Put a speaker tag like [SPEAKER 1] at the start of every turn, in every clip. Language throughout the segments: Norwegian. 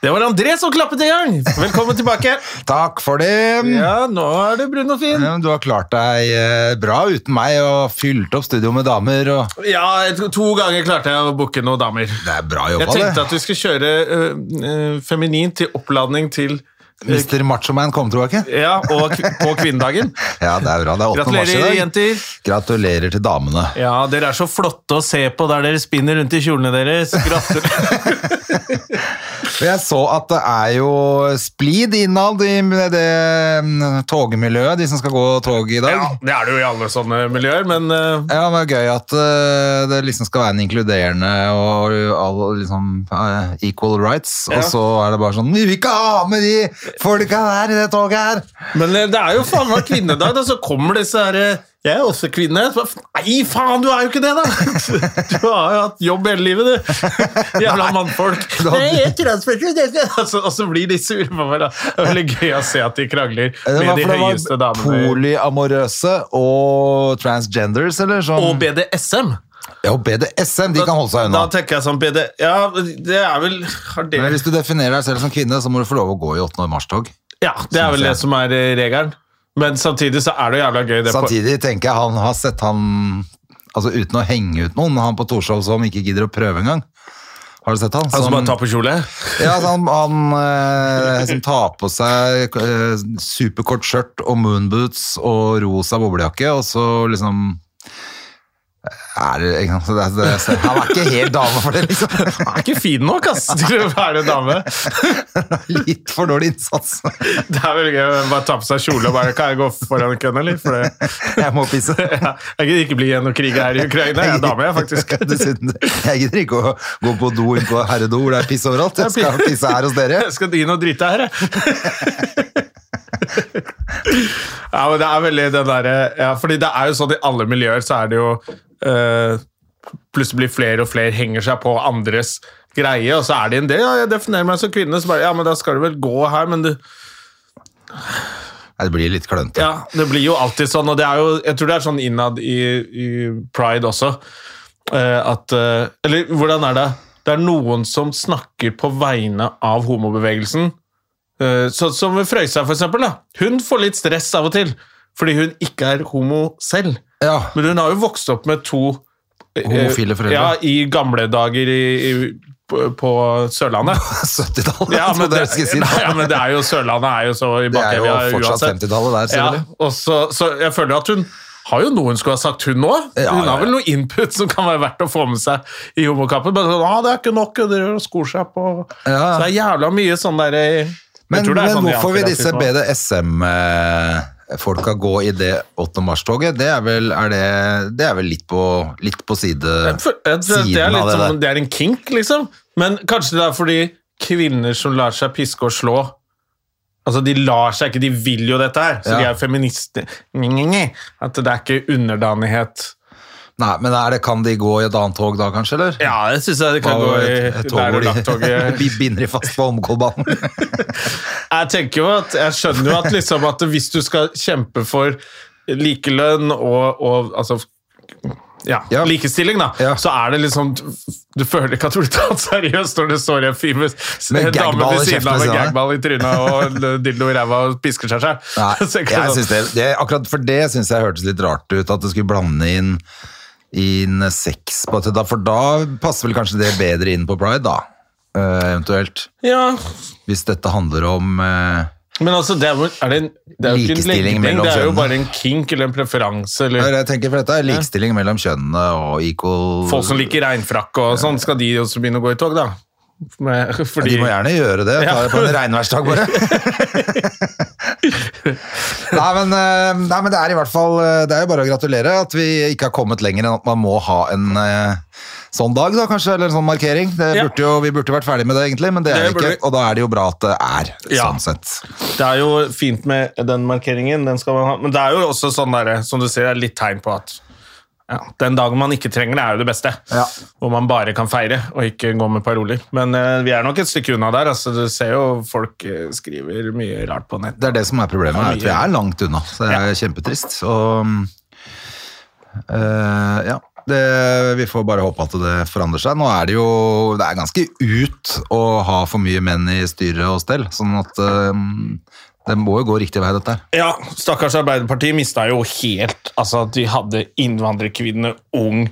[SPEAKER 1] Det var André som klappet i gang! Velkommen tilbake.
[SPEAKER 2] Takk for det.
[SPEAKER 1] Ja, nå er det brun og fin.
[SPEAKER 2] Ja, men Du har klart deg eh, bra uten meg og fylt opp studio med damer. Og
[SPEAKER 1] Ja, jeg tror to ganger klarte jeg å booke noen damer.
[SPEAKER 2] det er bra
[SPEAKER 1] Jeg
[SPEAKER 2] jobba,
[SPEAKER 1] tenkte
[SPEAKER 2] det.
[SPEAKER 1] at vi skulle kjøre øh, øh, feminin til oppladning til eh,
[SPEAKER 2] Mr. Machoman kom tilbake.
[SPEAKER 1] Ja, og kv på kvinnedagen.
[SPEAKER 2] Ja, det er bra. Det er 8. mars i
[SPEAKER 1] Gratulerer,
[SPEAKER 2] dag.
[SPEAKER 1] jenter.
[SPEAKER 2] Gratulerer til damene.
[SPEAKER 1] Ja, dere er så flotte å se på der dere spinner rundt i kjolene deres. Gratulerer.
[SPEAKER 2] Og Jeg så at det er jo splid innad i det mm, togmiljøet, de som skal gå tog i dag.
[SPEAKER 1] Ja, det er det jo i alle sånne miljøer, men øh,
[SPEAKER 2] Ja, men det er gøy at eh, det liksom skal være en inkluderende og alle liksom eh, equal rights,
[SPEAKER 1] Ja.
[SPEAKER 2] og så er det bare sånn Vi vil ikke ha med de folka der i det toget her!
[SPEAKER 1] Men eh, det er jo faen meg kvinnedag, da, så kommer disse her eh, Jeg er også kvinne. Så, bare, Nei, faen, du er jo ikke det, da! Du har jo hatt jobb hele livet, du. Jævla mannfolk. Nei, jeg er transperson, jeg skal- Og så- og så blir de sure på meg. da. Det er veldig gøy å se at de krangler
[SPEAKER 2] Eh, Det
[SPEAKER 1] med
[SPEAKER 2] var
[SPEAKER 1] de
[SPEAKER 2] for det
[SPEAKER 1] høyeste
[SPEAKER 2] var
[SPEAKER 1] damene.
[SPEAKER 2] polyamorøse og transgenders, eller sånn.
[SPEAKER 1] Og BDSM.
[SPEAKER 2] ja, og BDSM, de kan holde seg
[SPEAKER 1] Da
[SPEAKER 2] unna.
[SPEAKER 1] tenker jeg sånn BD... Ja, det er vel har
[SPEAKER 2] Men
[SPEAKER 1] det,
[SPEAKER 2] hvis du definerer deg selv som kvinne, så må du få lov å gå i 8. mars-tog.
[SPEAKER 1] Ja, det er vel
[SPEAKER 2] Synes jeg.
[SPEAKER 1] det som er eh, regelen. Men samtidig så er det jo jævla gøy. Det på-
[SPEAKER 2] Samtidig tenker jeg han har sett han Altså uten å henge ut noen, han på Torshov som ikke gidder å prøve engang. Har du sett han?
[SPEAKER 1] Han som Altså, bare tar på kjole?
[SPEAKER 2] Ja, altså, han, han eh, som tar på seg eh, superkort skjørt og moonboots og rosa boblejakke, og så liksom eh, er det, ikke, sant, så det, det, så Han er ikke helt dame for det, liksom.
[SPEAKER 1] Han er ikke fin nok, ass, til å være dame.
[SPEAKER 2] Litt for dårlig innsats.
[SPEAKER 1] Det er veldig gøy å bare ta på seg kjole og bare Kan jeg gå foran køen, eller? For det,
[SPEAKER 2] Jeg må pisse.
[SPEAKER 1] ja, jeg gidder ikke bli igjen og krige her i Ukraina. Jeg er dame, jeg, faktisk.
[SPEAKER 2] Dessuten, jeg gidder ikke å gå på do inn på herredo hvor det er piss overalt. Jeg skal pisse her hos dere.
[SPEAKER 1] Jeg skal inn og drite her, jeg. Ja, men det er veldig den derre ja, Fordi det er jo sånn i alle miljøer så er det jo eh, Plutselig blir flere og flere henger seg på andres greie, og så er det en del. Ja, jeg definerer meg som kvinne, så bare Ja, men da skal du vel gå her, men du
[SPEAKER 2] Nei, Det blir litt klønete.
[SPEAKER 1] Ja, det blir jo alltid sånn, og det er jo, jeg tror det er sånn innad i, i Pride også, eh, at, eh, eller hvordan er det? Det er noen som snakker på vegne av homobevegelsen, eh, sånn som Frøysa for eksempel da. Hun får litt stress av og til, fordi hun ikke er homo selv.
[SPEAKER 2] Ja.
[SPEAKER 1] Men hun har jo vokst opp med to... eh,
[SPEAKER 2] Homofile foreldre.
[SPEAKER 1] Ja, i gamle dager i, i, på, på Sørlandet.
[SPEAKER 2] 70-tallet,
[SPEAKER 1] Ja, men
[SPEAKER 2] trodde
[SPEAKER 1] det,
[SPEAKER 2] jeg skulle si.
[SPEAKER 1] nei, ja, men det er jo Sørlandet er jo så
[SPEAKER 2] Det
[SPEAKER 1] i
[SPEAKER 2] er jo
[SPEAKER 1] bakevja
[SPEAKER 2] fortsatt
[SPEAKER 1] uansett.
[SPEAKER 2] 50-tallet der, selvfølgelig.
[SPEAKER 1] Ja, og så, så jeg føler at hun har jo noe hun skulle ha sagt, hun òg.
[SPEAKER 2] Ja,
[SPEAKER 1] hun
[SPEAKER 2] ja,
[SPEAKER 1] har vel
[SPEAKER 2] ja.
[SPEAKER 1] noe input som kan være verdt å få med seg i homokampen. Men sånn, ah, det er ikke nok, og dere skor seg på
[SPEAKER 2] Ja.
[SPEAKER 1] Så det er jævla mye sånn derre
[SPEAKER 2] Men, men
[SPEAKER 1] sånn
[SPEAKER 2] hvorfor vil disse BDSM-folka gå i det 8. mars-toget? Det, er vel- er det, det er vel litt på, litt på side,
[SPEAKER 1] det, det, er
[SPEAKER 2] siden av
[SPEAKER 1] litt
[SPEAKER 2] det
[SPEAKER 1] som,
[SPEAKER 2] der.
[SPEAKER 1] det er en kink, liksom. Men kanskje det er fordi kvinner som lar seg piske og slå Altså, De lar seg ikke, de vil jo dette her, så
[SPEAKER 2] Ja.
[SPEAKER 1] de er feminister. Nye, nye, nye. At det er ikke underdanighet.
[SPEAKER 2] Nei, men er det, kan de gå i et annet tog da, kanskje? eller?
[SPEAKER 1] Ja, det syns jeg det kan
[SPEAKER 2] Hva
[SPEAKER 1] gå
[SPEAKER 2] var
[SPEAKER 1] i.
[SPEAKER 2] et- et tog
[SPEAKER 1] der
[SPEAKER 2] hvor
[SPEAKER 1] og
[SPEAKER 2] de-
[SPEAKER 1] natt-toget.
[SPEAKER 2] de binder de fast på Holmenkollbanen.
[SPEAKER 1] Jeg tenker jo at, jeg skjønner jo at, liksom, at hvis du skal kjempe for likelønn og, og altså, ja,
[SPEAKER 2] Ja.
[SPEAKER 1] likestilling, da,
[SPEAKER 2] Ja.
[SPEAKER 1] så er det liksom Du føler ikke at du blir tatt seriøst når det står en fyr med s-
[SPEAKER 2] Med
[SPEAKER 1] en dame
[SPEAKER 2] gagball i
[SPEAKER 1] ved siden av
[SPEAKER 2] kjeften,
[SPEAKER 1] med
[SPEAKER 2] sier han.
[SPEAKER 1] gagball i trynet og en dildo i ræva og pisker seg selv.
[SPEAKER 2] Nei,
[SPEAKER 1] Så tenker jeg
[SPEAKER 2] jeg
[SPEAKER 1] sånn,
[SPEAKER 2] synes det, det, akkurat for det syns jeg hørtes litt rart ut, at du skulle blande inn, inn sex på det. For da passer vel kanskje det bedre inn på Pride, da. eh, eventuelt.
[SPEAKER 1] Ja,
[SPEAKER 2] Hvis dette handler om eh,
[SPEAKER 1] men altså, det er, jo- er det, en, det er jo ikke en
[SPEAKER 2] Likestilling
[SPEAKER 1] legning,
[SPEAKER 2] mellom
[SPEAKER 1] det er jo
[SPEAKER 2] kjønnene.
[SPEAKER 1] bare en kink eller en preferanse.
[SPEAKER 2] Hva er
[SPEAKER 1] Eller,
[SPEAKER 2] det jeg tenker, for dette er likestilling mellom kjønnene og equal
[SPEAKER 1] folk som liker regnfrakk og sånn, skal de også begynne å gå i tog, da? Med, fordi
[SPEAKER 2] De må gjerne gjøre det. Ta det på en regnværsdag, bare. nei, men, eh, nei, men det er i hvert fall eh, Det er jo bare å gratulere at vi ikke har kommet lenger enn at man må ha en eh, sånn dag, da, kanskje, eller en sånn markering. Det
[SPEAKER 1] Ja.
[SPEAKER 2] burde jo, vi burde vært ferdig med det, egentlig, men det er
[SPEAKER 1] Det
[SPEAKER 2] vi
[SPEAKER 1] burde
[SPEAKER 2] ikke. Og da er det jo bra at det er
[SPEAKER 1] Ja.
[SPEAKER 2] sånn sett.
[SPEAKER 1] Det er jo fint med den markeringen, den skal man ha. Men det er jo også sånn der, som du ser, det er litt tegn på at ja, den dagen man ikke trenger det, er jo det beste.
[SPEAKER 2] Ja.
[SPEAKER 1] Hvor man bare kan feire og ikke gå med paroler. Men eh, vi er nok et stykke unna der. altså Du ser jo folk eh, skriver mye rart på nett.
[SPEAKER 2] Det er det som er problemet, er at vi er langt unna. Så det er kjempetrist. Og eh, ja. Det, vi får bare håpe at det forandrer seg. Nå er det jo det er ganske ut å ha for mye menn i styret og stell, sånn at eh, det må jo gå riktig vei, dette her.
[SPEAKER 1] Ja, stakkars Arbeiderpartiet mista jo helt Altså at de hadde innvandrerkvinne, ung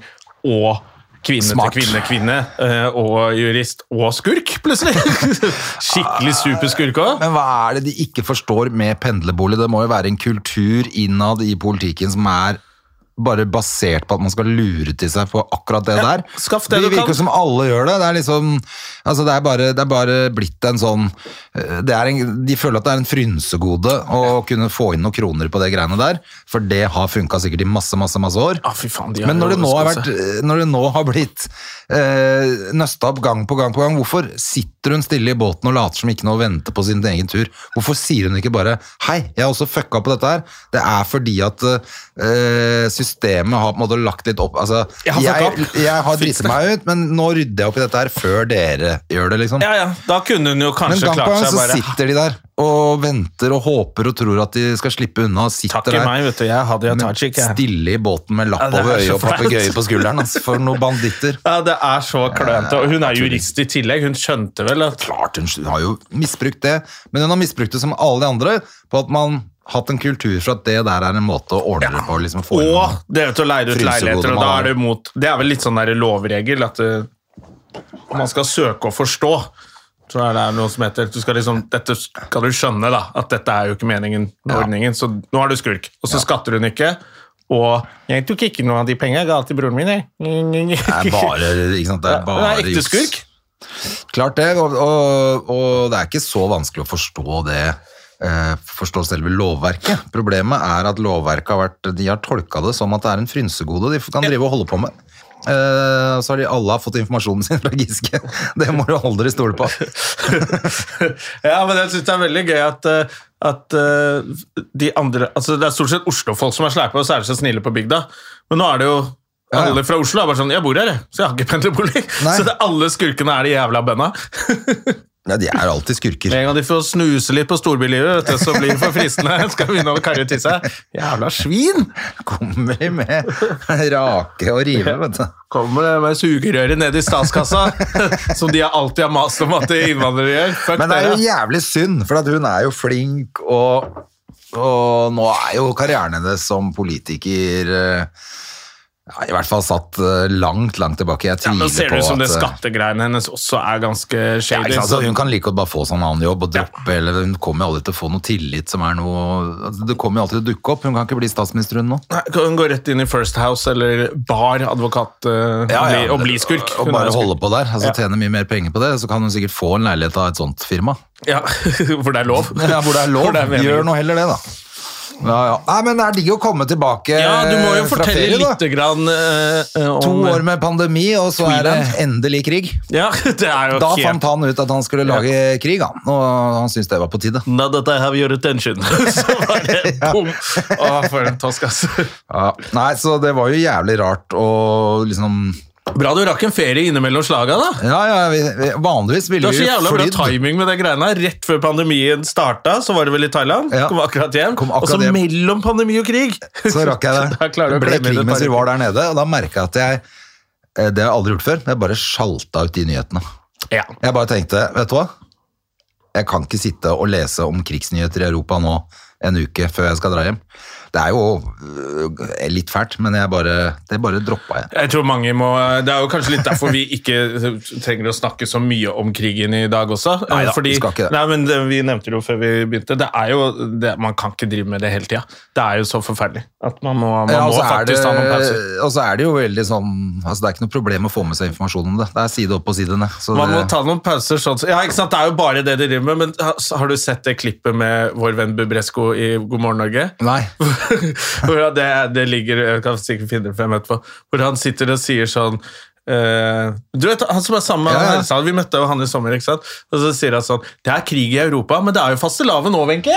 [SPEAKER 1] og kvinne
[SPEAKER 2] Smart.
[SPEAKER 1] til kvinne, kvinne, eh, og jurist og skurk, plutselig. Skikkelig superskurk òg.
[SPEAKER 2] Men hva er det de ikke forstår med pendlerbolig? Det må jo være en kultur innad i politikken som er bare basert på at man skal lure til seg på akkurat det der.
[SPEAKER 1] skaff det
[SPEAKER 2] det
[SPEAKER 1] du kan.
[SPEAKER 2] virker som alle gjør det. Det er liksom altså det, er bare, det er bare blitt en sånn eh, det er en, De føler at det er en frynsegode å kunne få inn noen kroner på det greiene der, for det har funka sikkert i masse, masse, masse år.
[SPEAKER 1] Ah, fy faen, de har
[SPEAKER 2] Men når
[SPEAKER 1] jo
[SPEAKER 2] det nå har,
[SPEAKER 1] skoset.
[SPEAKER 2] vært, når det nå har blitt eh, nøsta opp gang på gang på gang, hvorfor sitter hun stille i båten og later som ikke noe og venter på sin egen tur? Hvorfor sier hun ikke bare 'hei, jeg har også fucka på dette her'? Det er fordi at eh, systemet har på en måte lagt litt opp Altså,
[SPEAKER 1] Jeg har fucka
[SPEAKER 2] jeg,
[SPEAKER 1] opp.
[SPEAKER 2] jeg har driti meg ut, men nå rydder jeg opp i dette her før dere gjør det, liksom.
[SPEAKER 1] Ja, ja, da kunne hun jo
[SPEAKER 2] Men
[SPEAKER 1] kanskje
[SPEAKER 2] gang på
[SPEAKER 1] klart
[SPEAKER 2] gang
[SPEAKER 1] seg
[SPEAKER 2] så
[SPEAKER 1] bare
[SPEAKER 2] sitter de der og venter og håper og tror at de skal slippe unna. og Sitter
[SPEAKER 1] Takk i
[SPEAKER 2] der
[SPEAKER 1] meg, vet du. Jeg hadde jo
[SPEAKER 2] men
[SPEAKER 1] Tajik, jeg.
[SPEAKER 2] Stille i båten med lapp
[SPEAKER 1] Ja, det er
[SPEAKER 2] over øyet
[SPEAKER 1] så
[SPEAKER 2] og
[SPEAKER 1] flaut.
[SPEAKER 2] papegøye på skulderen. Altså, for noen banditter.
[SPEAKER 1] Ja, det er så klønete. Og hun er jurist i tillegg. Hun skjønte vel at
[SPEAKER 2] Klart hun har jo misbrukt det, men hun har misbrukt det som alle de andre, på at man har hatt en kultur for at det der er en måte å ordne det på. Liksom, få inn
[SPEAKER 1] Og
[SPEAKER 2] noe.
[SPEAKER 1] det vet du, å leie ut
[SPEAKER 2] Frynsegode
[SPEAKER 1] leiligheter,
[SPEAKER 2] man
[SPEAKER 1] og da
[SPEAKER 2] har.
[SPEAKER 1] er det mot Det er vel litt sånn der lovregel at eh, man skal søke å forstå. Tror jeg det er noe som heter du skal liksom, Dette skal du skjønne, da. At dette er jo ikke meningen med ordningen. Så nå er du skurk. Og så skatter hun ikke. Og jeg tok ikke noe av de pengene jeg ga til broren min, jeg.
[SPEAKER 2] Det er bare, ikke sant? Det er bare
[SPEAKER 1] Hun er ekte
[SPEAKER 2] juks.
[SPEAKER 1] skurk.
[SPEAKER 2] Klart det, og, og, og det er ikke så vanskelig å forstå det. eh, Forstå selve lovverket. Problemet er at lovverket har vært De har tolka det som at det er en frynsegode de kan drive og holde på med. Eh, og så har de alle har fått informasjonen sin fra Giske. Det må du aldri stole på.
[SPEAKER 1] ja, men jeg synes det er veldig gøy at, eh, at eh, de andre altså Det er stort sett Oslo-folk som er sleipe, og så er de så snille på bygda. Men nå er det jo
[SPEAKER 2] Ja, ja.
[SPEAKER 1] alle fra Oslo er bare sånn 'Jeg bor her, jeg, så jeg har ikke pendlerbolig'.
[SPEAKER 2] Nei.
[SPEAKER 1] Så det, alle skurkene er de jævla bønda.
[SPEAKER 2] Ja, de er alltid skurker.
[SPEAKER 1] Med en gang de får snuse litt på storbylivet, vet du, så blir det for fristende. Skal begynne å karre til seg. Jævla svin!
[SPEAKER 2] Kommer de med rake og rive, vet du.
[SPEAKER 1] Kommer det med sugerøret ned i statskassa, som de alltid har mast om at innvandrere gjør. Fuck
[SPEAKER 2] Men det er jo
[SPEAKER 1] dere.
[SPEAKER 2] jævlig synd, for at hun er jo flink, og, og nå er jo karrieren hennes som politiker eh, ja, I hvert fall satt eh, langt, langt tilbake. Jeg
[SPEAKER 1] Ja,
[SPEAKER 2] tviler
[SPEAKER 1] Nå ser det
[SPEAKER 2] på
[SPEAKER 1] ut som
[SPEAKER 2] at
[SPEAKER 1] det
[SPEAKER 2] eh,
[SPEAKER 1] skattegreiene hennes også er ganske
[SPEAKER 2] ja,
[SPEAKER 1] shady.
[SPEAKER 2] ikke sant, altså,
[SPEAKER 1] så-
[SPEAKER 2] hun kan like godt bare få sånn annen jobb og droppe, eller hun kommer jo aldri til å få noe tillit som er noe altså, Det kommer jo alltid til å dukke opp. Hun kan ikke bli statsminister, hun nå.
[SPEAKER 1] Nei, kan Hun går rett inn i First House eller bar advokat eh, og, bli, og bli skurk.
[SPEAKER 2] Og
[SPEAKER 1] Hun er
[SPEAKER 2] bare
[SPEAKER 1] jo skurk.
[SPEAKER 2] holde på der. Altså, Tjene mye mer penger på det, så kan hun sikkert få en leilighet av et sånt firma.
[SPEAKER 1] Ja, For det er lov.
[SPEAKER 2] Ja, hvor det er lov.
[SPEAKER 1] Hvor det er meningen.
[SPEAKER 2] Gjør nå heller det, da. Ja, ja. Nei, men det er digg å komme tilbake
[SPEAKER 1] Ja, du må jo
[SPEAKER 2] eh, fra
[SPEAKER 1] fortelle
[SPEAKER 2] ferie, da.
[SPEAKER 1] litt grann, eh, eh, om
[SPEAKER 2] To år med pandemi, og så er det endelig krig.
[SPEAKER 1] Ja, det er jo
[SPEAKER 2] Da
[SPEAKER 1] helt
[SPEAKER 2] fant han ut at han skulle lage krig, han. Og han syntes det var på tide.
[SPEAKER 1] Now that I have your attention. Så var det bom! Å, for en tosk, altså. ass.
[SPEAKER 2] Ja. Nei, så det var jo jævlig rart å liksom
[SPEAKER 1] Bra du rakk en ferie innimellom slaga, da.
[SPEAKER 2] Ja, ja, vi, vi, vanligvis
[SPEAKER 1] Det
[SPEAKER 2] ville
[SPEAKER 1] var så
[SPEAKER 2] vi
[SPEAKER 1] jævla bra
[SPEAKER 2] flydd.
[SPEAKER 1] timing med den greia. Rett før pandemien starta, så var det vel i Thailand.
[SPEAKER 2] Ja.
[SPEAKER 1] Kom akkurat hjem.
[SPEAKER 2] Kom akkurat
[SPEAKER 1] og så
[SPEAKER 2] hjem.
[SPEAKER 1] mellom pandemi og krig!
[SPEAKER 2] Så rakk jeg det.
[SPEAKER 1] Da klarer du å
[SPEAKER 2] det ble
[SPEAKER 1] klemme inn
[SPEAKER 2] krig
[SPEAKER 1] et
[SPEAKER 2] mens
[SPEAKER 1] par-
[SPEAKER 2] vi var der nede, og da merka jeg at jeg eh, Det har jeg aldri gjort før. men Jeg bare sjalta ut de nyhetene.
[SPEAKER 1] Ja.
[SPEAKER 2] Jeg bare tenkte, vet du hva? Jeg kan ikke sitte og lese om krigsnyheter i Europa nå en uke før jeg skal dra hjem. Det er jo øh, litt fælt, men jeg bare, det bare droppa jeg.
[SPEAKER 1] Jeg tror mange må, Det er jo kanskje litt derfor vi ikke trenger å snakke så mye om krigen i dag også. Eh,
[SPEAKER 2] Neida,
[SPEAKER 1] Fordi,
[SPEAKER 2] vi skal ikke det.
[SPEAKER 1] Nei, men det, Vi nevnte det jo før vi begynte. Det er jo, det, Man kan ikke drive med det hele tida. Det er jo så forferdelig at man må, man
[SPEAKER 2] Ja, og
[SPEAKER 1] må
[SPEAKER 2] så er det-
[SPEAKER 1] faktisk ta noen pauser.
[SPEAKER 2] og så er det jo veldig sånn altså Det er ikke noe problem å få med seg informasjon om det. Det er side opp og side ned. Så
[SPEAKER 1] Man må
[SPEAKER 2] det,
[SPEAKER 1] ta noen pauser. Sånn, ja, ikke sant? Det er jo bare det de driver med. Men ha- har du sett det klippet med vår venn Bubresko i God morgen, Norge?
[SPEAKER 2] nei.
[SPEAKER 1] hvor han- det, det ligger Jeg kan sikkert finne det frem etterpå. Hvor han sitter og sier sånn eh, du vet, Han som er sammen med
[SPEAKER 2] Ja, ja.
[SPEAKER 1] han Elsa, vi møtte jo han i sommer. ikke sant? Og så sier han sånn Det er krig i Europa, men det er jo fastelavn nå, Wenche!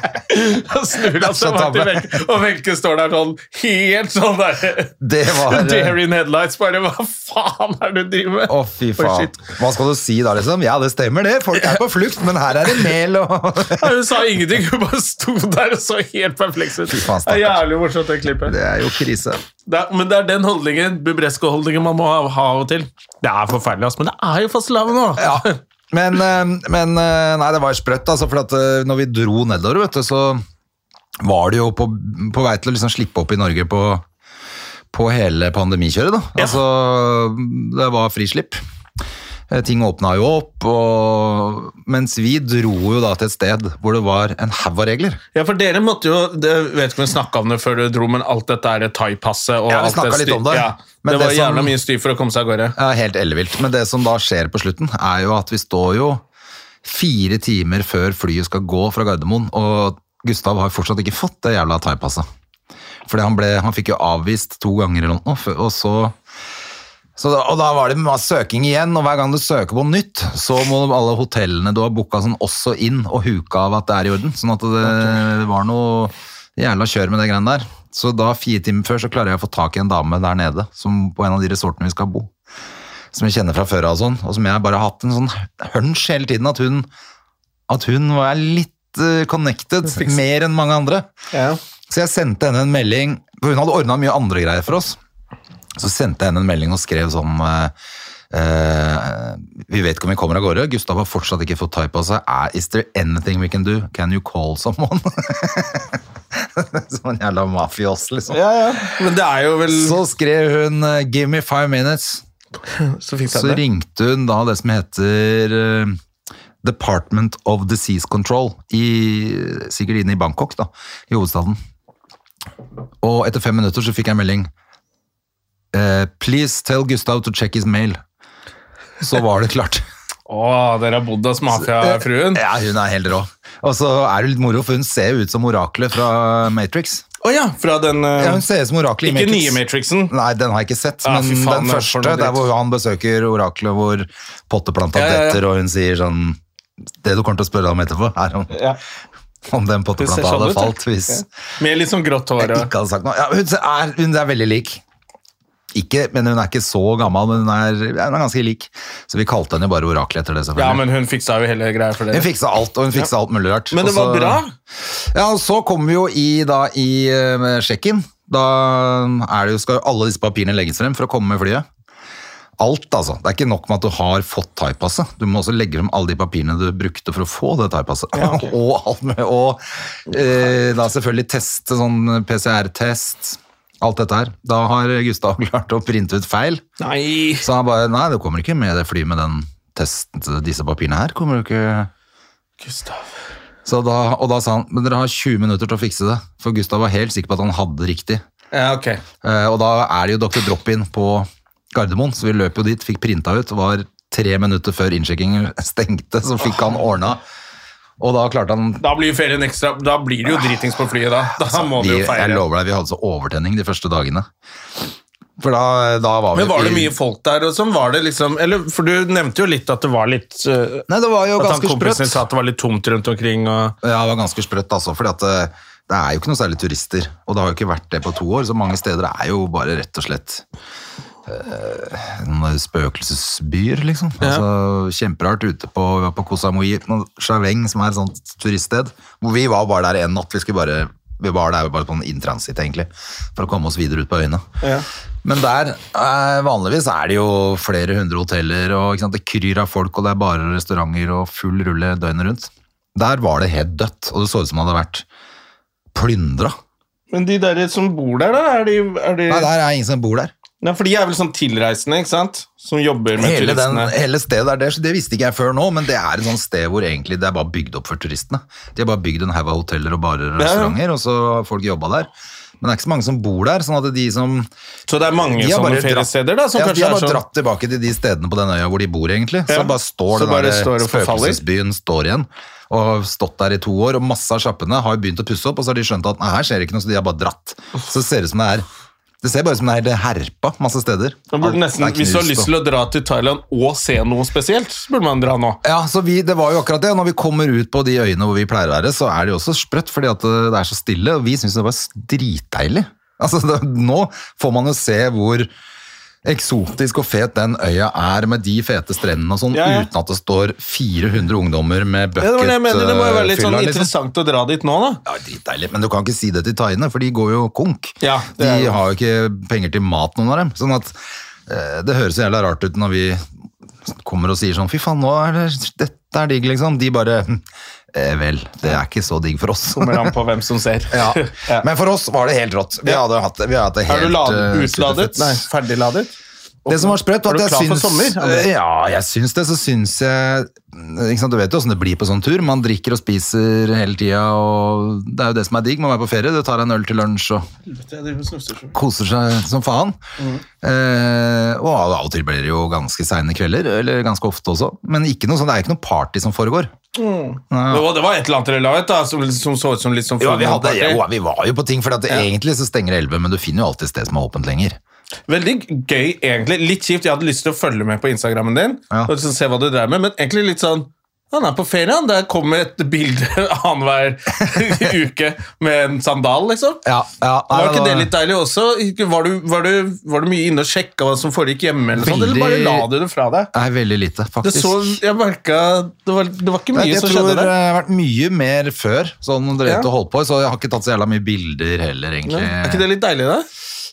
[SPEAKER 1] Da snur han
[SPEAKER 2] så
[SPEAKER 1] seg bak til
[SPEAKER 2] tabbe.
[SPEAKER 1] Wenche, og Wenche står der sånn helt sånn der
[SPEAKER 2] Det var eh,
[SPEAKER 1] Dare in headlights, bare hva faen er det du driver med?
[SPEAKER 2] Å, fy faen.
[SPEAKER 1] shit.
[SPEAKER 2] Hva skal du si da, liksom? Ja, det stemmer det. Folk er på flukt, men her er det mel og
[SPEAKER 1] Nei, Hun sa ingenting, hun bare sto der og så helt perpleks ut.
[SPEAKER 2] Fy faen,
[SPEAKER 1] Det er jævlig morsomt, det klippet.
[SPEAKER 2] Det er jo krise.
[SPEAKER 1] Det er, men det er den holdningen, Bubresco-holdningen man må ha, ha av og til. Det er forferdelig, ass, men det er jo fastelavn nå!
[SPEAKER 2] Ja. Men, eh, men eh, nei, det var sprøtt, altså, for at eh, når vi dro nedover, vet du, så var det jo på, på vei til å liksom slippe opp i Norge på, på hele pandemikjøret, da.
[SPEAKER 1] Ja.
[SPEAKER 2] Altså, det var frislipp. Eh, Ting åpna jo opp, og mens vi dro jo da til et sted hvor det var en haug av regler.
[SPEAKER 1] Ja, for dere måtte jo det, Jeg vet ikke om vi snakka om det før du dro, men alt dette er thai-passet og
[SPEAKER 2] Ja, vi
[SPEAKER 1] alt
[SPEAKER 2] snakket
[SPEAKER 1] styr-
[SPEAKER 2] litt om det.
[SPEAKER 1] Ja,
[SPEAKER 2] Men
[SPEAKER 1] det,
[SPEAKER 2] det
[SPEAKER 1] var
[SPEAKER 2] som-
[SPEAKER 1] jævla mye styr for å komme seg av gårde.
[SPEAKER 2] Ja, helt ellevilt. Men det som da skjer på slutten, er jo at vi står jo fire timer før flyet skal gå fra Gardermoen, og Gustav har fortsatt ikke fått det jævla thaipasset. Fordi han, ble, han fikk jo avvist to ganger eller noe, før- og så... Så da, og da var det masse søking igjen, og hver gang du søker på nytt, så må alle hotellene du har booka sånn også inn og huka av at det er i orden. Sånn at det, det var noe jævla kjør med det greiene der. Så da, fire timer før, så klarer jeg å få tak i en dame der nede, som på en av de resortene vi skal bo som jeg kjenner fra før av og sånn, og som jeg bare har hatt en sånn hunch hele tiden, at hun, at hun var litt eh, connected, mer enn mange andre. Så jeg sendte henne en melding, for hun hadde ordnet mye andre greier for oss. Så sendte jeg henne en melding og skrev sånn, eh, eh, vi vet ikke om vi kommer av gårde, Gustav har fortsatt ikke fått type av seg, Er- is there anything we can do? Can you call someone? sånn jævla mafios, liksom.
[SPEAKER 1] Men det er jo vel
[SPEAKER 2] Så skrev hun, eh, give me five minutes.
[SPEAKER 1] Så fikk
[SPEAKER 2] Så
[SPEAKER 1] jeg det.
[SPEAKER 2] ringte hun da det som heter eh, Department of Disease Control, i, sikkert inne i Bangkok, da, i hovedstaden. Og etter fem minutter så fikk jeg en melding. eh, please tell Gustav to check his mail. Så var det klart.
[SPEAKER 1] Å, dere har bodd hos mafiafruen?
[SPEAKER 2] Ja, hun er helt rå. Og så er det litt moro, for hun ser jo ut som oraklet fra Matrix.
[SPEAKER 1] Å ja, fra den eh,
[SPEAKER 2] Ja, hun ser ut som oraklet i
[SPEAKER 1] Ikke
[SPEAKER 2] Matrix.
[SPEAKER 1] nye Matrixen.
[SPEAKER 2] Nei, den har jeg ikke sett,
[SPEAKER 1] Ja,
[SPEAKER 2] men
[SPEAKER 1] fy faen,
[SPEAKER 2] den
[SPEAKER 1] det er
[SPEAKER 2] første,
[SPEAKER 1] for noe
[SPEAKER 2] der
[SPEAKER 1] dritt.
[SPEAKER 2] hvor han besøker oraklet, hvor potteplanta
[SPEAKER 1] Ja, ja, ja.
[SPEAKER 2] detter, og hun sier sånn Det du kommer til å spørre deg om etterpå, er om,
[SPEAKER 1] Ja.
[SPEAKER 2] om den
[SPEAKER 1] Det ser
[SPEAKER 2] potteplanta
[SPEAKER 1] sånn
[SPEAKER 2] hadde
[SPEAKER 1] ut,
[SPEAKER 2] falt
[SPEAKER 1] ja.
[SPEAKER 2] hvis
[SPEAKER 1] Ja. Med litt sånn grått hår.
[SPEAKER 2] jeg
[SPEAKER 1] og-
[SPEAKER 2] ikke hadde sagt noe. Ja, hun, er, hun er veldig lik. Ikke, men hun er ikke så gammel, men hun er, ja, hun er ganske lik. Så vi kalte henne jo bare oraklet etter det,
[SPEAKER 1] Ja,
[SPEAKER 2] selvfølgelig.
[SPEAKER 1] men hun fiksa jo hele greia for
[SPEAKER 2] Hun
[SPEAKER 1] dere.
[SPEAKER 2] fiksa alt, og hun fiksa alt mulig rart.
[SPEAKER 1] Men
[SPEAKER 2] Og
[SPEAKER 1] det var
[SPEAKER 2] så-
[SPEAKER 1] bra.
[SPEAKER 2] Ja, og så kommer vi jo i, da, i eh, sjekken. Da er det jo, skal jo alle disse papirene legges frem for å komme med flyet. Alt, altså. Det er ikke nok med at du har fått thaipasset. Du må også legge frem alle de papirene du brukte for å få det thaipasset. og alt med, og eh, da selvfølgelig teste sånn PCR-test. Alt dette her. Da har Gustav klart å printe ut feil.
[SPEAKER 1] Nei.
[SPEAKER 2] Så han bare Nei, det kommer ikke med det flyet med den testen til disse papirene her. Kommer du ikke
[SPEAKER 1] Gustav.
[SPEAKER 2] så da, og da sa han, men dere har 20 minutter til å fikse det. For Gustav var helt sikker på at han hadde riktig.
[SPEAKER 1] Ja, ok.
[SPEAKER 2] Eh, og da er det jo Dr. Drop-In på Gardermoen, så vi løp jo dit, fikk printa ut. Var tre minutter før innsjekkingen stengte, så fikk han ordna. Og da klarte han
[SPEAKER 1] Da blir ferien ekstra Da blir det jo dritings på flyet, da. Da må du
[SPEAKER 2] Altså, vi,
[SPEAKER 1] jo
[SPEAKER 2] Jeg
[SPEAKER 1] feire.
[SPEAKER 2] lover deg, vi hadde så overtenning de første dagene. For da, da var vi
[SPEAKER 1] Men var det mye folk der og sånn? Var det liksom Eller, for du nevnte jo litt at det var litt eh,
[SPEAKER 2] Nei, det var jo
[SPEAKER 1] At han
[SPEAKER 2] ganske
[SPEAKER 1] kompisen
[SPEAKER 2] sprøtt.
[SPEAKER 1] din sa at det var litt tomt rundt omkring og
[SPEAKER 2] Ja, det var ganske sprøtt, altså. For det er jo ikke noe særlig turister. Og det har jo ikke vært det på to år, så mange steder er jo bare rett og slett eh, noen spøkelsesbyer, liksom. Altså, kjemperart ute på, vi var på Koh Samui, på Chaveng, som er et sånt turiststed. Hvor vi var bare der en natt. Vi, skulle bare, vi var der bare på en intransit, egentlig, for å komme oss videre ut på øyene. Men der, eh, vanligvis er det jo flere hundre hoteller, og ikke sant? det kryr av folk, og det er bare restauranter og full rulle døgnet rundt. Der var det helt dødt, og det så ut som det hadde vært plyndra.
[SPEAKER 1] Men de der som bor der, da? Er de, er de...
[SPEAKER 2] Nei,
[SPEAKER 1] Nei,
[SPEAKER 2] der er ingen som bor der.
[SPEAKER 1] for de er vel sånn tilreisende, ikke sant? Som jobber med
[SPEAKER 2] Hele, den,
[SPEAKER 1] turistene.
[SPEAKER 2] hele stedet er det, så det visste ikke jeg før nå, men det er et sånt sted hvor egentlig det er bare bygd opp for turistene. De har bare bygd en haug av hoteller og barer og
[SPEAKER 1] Ja, ja.
[SPEAKER 2] restauranter, og så har folk jobba der. Men det er ikke så mange som bor der, sånn at de som
[SPEAKER 1] Så det er mange
[SPEAKER 2] de har
[SPEAKER 1] sånne
[SPEAKER 2] bare dratt-
[SPEAKER 1] feriesteder, da? Som
[SPEAKER 2] ja, de
[SPEAKER 1] kanskje
[SPEAKER 2] har
[SPEAKER 1] er
[SPEAKER 2] bare
[SPEAKER 1] sånn
[SPEAKER 2] dratt tilbake til de stedene på den øya hvor de bor, egentlig. Så
[SPEAKER 1] Ja.
[SPEAKER 2] bare står
[SPEAKER 1] Så
[SPEAKER 2] den
[SPEAKER 1] bare
[SPEAKER 2] der
[SPEAKER 1] står og forfaller.
[SPEAKER 2] spøkelsesbyen står igjen. Og har stått der i to år, og masse av sjappene har jo begynt å pusse opp, og så har de skjønt at nei, her skjer det ikke noe, så de har bare dratt. Så det ser ut som det er Det ser bare ut som det er herpa masse steder.
[SPEAKER 1] Man
[SPEAKER 2] Alt
[SPEAKER 1] burde
[SPEAKER 2] er
[SPEAKER 1] nesten, hvis du har
[SPEAKER 2] knust,
[SPEAKER 1] lyst
[SPEAKER 2] og-
[SPEAKER 1] til å dra til Thailand og se noe spesielt, så burde man dra nå.
[SPEAKER 2] Ja, så vi, det var jo akkurat det. og Når vi kommer ut på de øyene hvor vi pleier å være, så er det jo også sprøtt, fordi at eh, det er så stille, og vi syns det var dritdeilig. Altså, det, nå får man jo se hvor eksotisk og fet den øya er, med de fete strendene og sånn,
[SPEAKER 1] Ja, ja.
[SPEAKER 2] uten at det står 400 ungdommer med
[SPEAKER 1] Ja, det var det jeg mener. Det må jo være litt sånn
[SPEAKER 2] bucketfyller, liksom.
[SPEAKER 1] interessant å dra dit nå, da.
[SPEAKER 2] Ja, dritdeilig. Men du kan ikke si det til thaiene, for de går jo konk.
[SPEAKER 1] Ja, det er
[SPEAKER 2] de
[SPEAKER 1] jo-
[SPEAKER 2] har jo ikke penger til mat, noen av dem. Sånn at eh, det høres jo jævla rart ut når vi kommer og sier sånn, fy faen, nå er det, dette er digg, liksom. De bare, «Hm, eh, vel, det er ikke så digg for oss.
[SPEAKER 1] Kommer an på hvem som ser.
[SPEAKER 2] ja.
[SPEAKER 1] Ja.
[SPEAKER 2] Men for oss var det helt rått. Vi
[SPEAKER 1] Ja.
[SPEAKER 2] hadde hatt det, vi hadde hatt det
[SPEAKER 1] Er
[SPEAKER 2] helt...
[SPEAKER 1] du ladet,
[SPEAKER 2] eh,
[SPEAKER 1] utladet?
[SPEAKER 2] superfett.
[SPEAKER 1] Nei, ferdigladet?
[SPEAKER 2] Det som var sprøtt,
[SPEAKER 1] Er
[SPEAKER 2] var
[SPEAKER 1] du
[SPEAKER 2] at jeg
[SPEAKER 1] klar for
[SPEAKER 2] syns Eh,
[SPEAKER 1] sommer, André?
[SPEAKER 2] Ja, jeg syns det. Så syns jeg ikke sant, Du vet jo åssen det blir på sånn tur. Man drikker og spiser hele tida, og det er jo det som er digg. Man er på ferie, du tar en øl til lunsj og Eh, koser seg som faen.
[SPEAKER 1] Mm.
[SPEAKER 2] Eh, og av og til blir det jo ganske seine kvelder, eller ganske ofte også. Men ikke noe sånn, det er ikke noe party som foregår.
[SPEAKER 1] Det var, det var et eller annet dere la ut, da, som, som så ut som litt sånn
[SPEAKER 2] Jo, vi, hadde,
[SPEAKER 1] fullmåneparty.
[SPEAKER 2] jo, vi var jo på ting, for at det,
[SPEAKER 1] Ja.
[SPEAKER 2] egentlig så stenger det 11, men du finner jo alltid et sted som er åpent lenger.
[SPEAKER 1] Veldig gøy, egentlig. Litt kjipt. Jeg hadde lyst til å følge med på Instagrammen din.
[SPEAKER 2] Ja.
[SPEAKER 1] Og liksom se hva du dreier med, Men egentlig litt sånn Han er på ferie, han. Der kommer et bilde annenhver uke med en sandal, liksom.
[SPEAKER 2] Ja, ja, nei,
[SPEAKER 1] var ikke det
[SPEAKER 2] var-
[SPEAKER 1] litt deilig også? Ikke- Var du, var du, var du mye inne og sjekka hva som foregikk hjemme, eller, sånt, eller bare
[SPEAKER 2] Veldig-
[SPEAKER 1] la du det fra deg?
[SPEAKER 2] Nei, veldig lite,
[SPEAKER 1] Det
[SPEAKER 2] faktisk.
[SPEAKER 1] så, jeg merka det, var- det var ikke
[SPEAKER 2] Nei,
[SPEAKER 1] mye
[SPEAKER 2] jeg
[SPEAKER 1] som
[SPEAKER 2] tror eh,
[SPEAKER 1] skjedde
[SPEAKER 2] det
[SPEAKER 1] der.
[SPEAKER 2] har vært mye mer før, sånn drevet
[SPEAKER 1] Ja.
[SPEAKER 2] og holdt på, så jeg har ikke tatt så jævla mye bilder heller, egentlig.
[SPEAKER 1] Ja. Er ikke det litt deilig, da?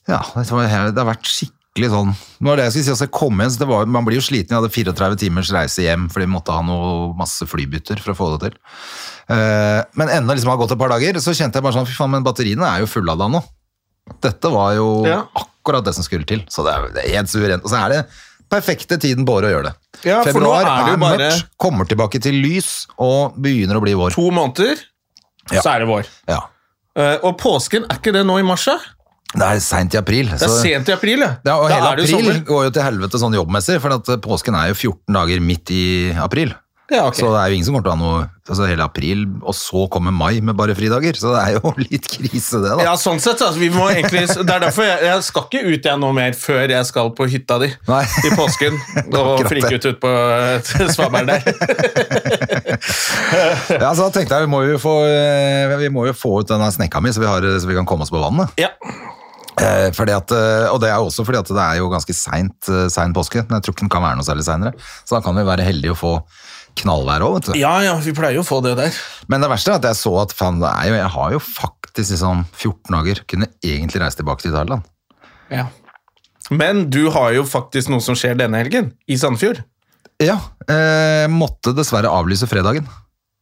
[SPEAKER 2] Ja, det, var, det har vært skikkelig sånn. Det var det jeg skulle si, altså jeg kom igjen, så det var, man blir jo sliten, vi hadde 34 timers reise hjem, fordi vi måtte ha noe masse flybytter for å få det til. Eh, men enda liksom det har gått et par dager, så kjente jeg bare sånn, fy faen, men batteriene er jo fulle av da nå. Dette var jo
[SPEAKER 1] Ja.
[SPEAKER 2] akkurat det som skulle til, så det er, det er helt suverent. Og så er det perfekte tiden på året å gjøre det.
[SPEAKER 1] Ja, for nå
[SPEAKER 2] Februar
[SPEAKER 1] er det jo bare-
[SPEAKER 2] mørkt, kommer tilbake til lys, og begynner å bli vår.
[SPEAKER 1] To måneder,
[SPEAKER 2] Ja.
[SPEAKER 1] så er det vår.
[SPEAKER 2] Ja.
[SPEAKER 1] Eh, og påsken, er ikke det nå i mars? da?
[SPEAKER 2] Det er sent i april.
[SPEAKER 1] Det er
[SPEAKER 2] så-
[SPEAKER 1] sent i april, ja.
[SPEAKER 2] Ja, og
[SPEAKER 1] Da
[SPEAKER 2] hele
[SPEAKER 1] er det jo
[SPEAKER 2] april
[SPEAKER 1] sommer.
[SPEAKER 2] går jo til helvete sånn jobbmessig, for at eh, påsken er jo 14 dager midt i april.
[SPEAKER 1] Ja, ok.
[SPEAKER 2] Så det er jo ingen som kommer til å ha noe altså hele april, og så kommer mai med bare fridager. Så det er jo litt krise, det, da.
[SPEAKER 1] Ja, sånn sett. Altså, vi må egentlig, det er derfor jeg, jeg skal ikke ut igjen noe mer før jeg skal på hytta di
[SPEAKER 2] Nei.
[SPEAKER 1] i påsken. Og
[SPEAKER 2] Akkurat det.
[SPEAKER 1] frike ut ut på eh, svaberg der.
[SPEAKER 2] Ja, så da tenkte jeg vi må jo få, eh, vi må jo få ut denne snekka mi, så vi, har, så vi kan komme oss på vannet.
[SPEAKER 1] Ja.
[SPEAKER 2] Eh, Fordi at, eh, og det er jo også fordi at det er jo ganske seint eh, sein påske, men jeg tror ikke den kan være noe særlig seinere. Så da kan vi være heldige og få knallvær òg, vet du.
[SPEAKER 1] ja, ja, vi pleier jo å få det der.
[SPEAKER 2] Men det verste er at jeg så at faen, det er jo, jeg har jo faktisk liksom 14 dager kunne egentlig reise tilbake til Thailand.
[SPEAKER 1] Ja. Men du har jo faktisk noe som skjer denne helgen, i Sandfjord.
[SPEAKER 2] Ja, eh, måtte dessverre avlyse fredagen.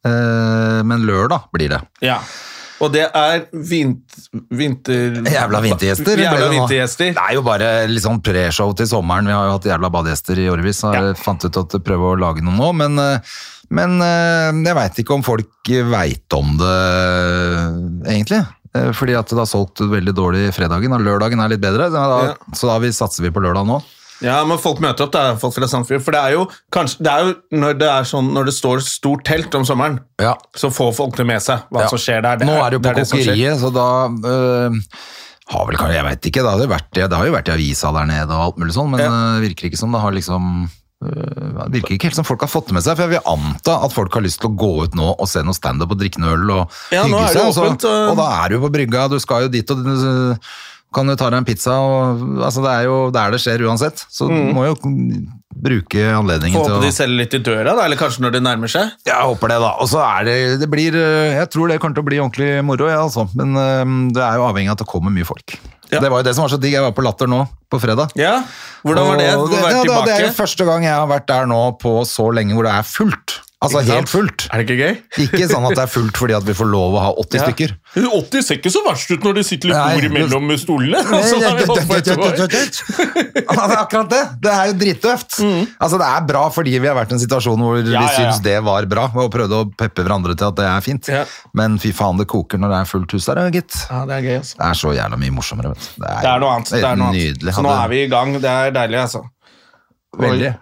[SPEAKER 2] Eh, men lørdag blir det.
[SPEAKER 1] Ja. Og det er vint, vinter...
[SPEAKER 2] Jævla vintergjester. ble
[SPEAKER 1] Jævla
[SPEAKER 2] det nå.
[SPEAKER 1] vintergjester.
[SPEAKER 2] Det er jo bare litt sånn preshow til sommeren. Vi har jo hatt jævla badegjester i årevis, så jeg fant ut at prøve å lage noe nå. Men, eh, men eh, jeg veit ikke om folk veit om det, eh, egentlig. Eh, Fordi at det har solgt veldig dårlig fredagen, og lørdagen er litt bedre. Så da,
[SPEAKER 1] Ja.
[SPEAKER 2] så da vi satser vi på lørdag nå.
[SPEAKER 1] Ja, men folk møter opp, da, folk fra Sandfjord. For det er jo, kanskje, det er jo når, det er sånn, når det står stort telt om sommeren,
[SPEAKER 2] Ja,
[SPEAKER 1] så får folk det med seg hva
[SPEAKER 2] Ja.
[SPEAKER 1] som skjer der. Det
[SPEAKER 2] Nå er det jo på
[SPEAKER 1] det som skjer.
[SPEAKER 2] kokeriet, så da øh, har vel kanskje, jeg vet ikke, det, har jo vært, det har jo vært i avisa der nede og alt mulig sånn, men det
[SPEAKER 1] Ja.
[SPEAKER 2] virker ikke som det har liksom øh, det virker ikke helt som folk har fått det med seg, for jeg vil anta at folk har lyst til å gå ut nå og se noe stand-up og drikke noe øl og
[SPEAKER 1] Ja, nå
[SPEAKER 2] hygge
[SPEAKER 1] er det
[SPEAKER 2] seg. Og,
[SPEAKER 1] åpent, eh.
[SPEAKER 2] så,
[SPEAKER 1] og-
[SPEAKER 2] og da er du jo på brygga, du skal jo dit og øh, kan jo ta deg en pizza. Og, altså, det er jo der det skjer uansett, så du må jo bruke anledningen
[SPEAKER 1] Får
[SPEAKER 2] til å
[SPEAKER 1] håpe Mm. de selger litt i døra, da, eller kanskje når det nærmer seg.
[SPEAKER 2] jeg håper det, da. Og så er det, det blir, øh, Jeg tror det kommer til å bli ordentlig moro, jeg, altså. Men øhm, det er jo avhengig av at det kommer mye folk.
[SPEAKER 1] Ja.
[SPEAKER 2] Det var jo det som var så digg. Jeg var på Latter nå på fredag.
[SPEAKER 1] Ja, Hvordan var det?
[SPEAKER 2] Og
[SPEAKER 1] Du
[SPEAKER 2] det,
[SPEAKER 1] har vært
[SPEAKER 2] ja, det, det er
[SPEAKER 1] tilbake?
[SPEAKER 2] jo første gang jeg har vært der nå på så lenge hvor det er fullt. Altså
[SPEAKER 1] Ikke sant?
[SPEAKER 2] helt fullt.
[SPEAKER 1] Er det ikke gøy?
[SPEAKER 2] Ikke sånn at det er fullt fordi at vi får lov å ha 80 stykker.
[SPEAKER 1] 80 ser ikke så verst ut når det sitter litt
[SPEAKER 2] Nei,
[SPEAKER 1] bord imellom stolene. Sånn har vi holdt på et år. Mm.
[SPEAKER 2] Ja, det er akkurat det. Det er jo drittøft. Altså, det er bra fordi vi har vært i en situasjon hvor vi
[SPEAKER 1] Ja, ja, ja.
[SPEAKER 2] syns det var bra, og prøvde å peppe hverandre til at det er fint.
[SPEAKER 1] Ja.
[SPEAKER 2] Men fy faen, det koker når det er fullt hus der, ja, gitt.
[SPEAKER 1] Ja, det er gøy, altså.
[SPEAKER 2] Det er så jævla mye morsommere, vet du.
[SPEAKER 1] Det er noe annet. Det er noe annet.
[SPEAKER 2] nydelig.
[SPEAKER 1] Så nå er vi i gang. Det er deilig, altså. Og
[SPEAKER 2] Veldig.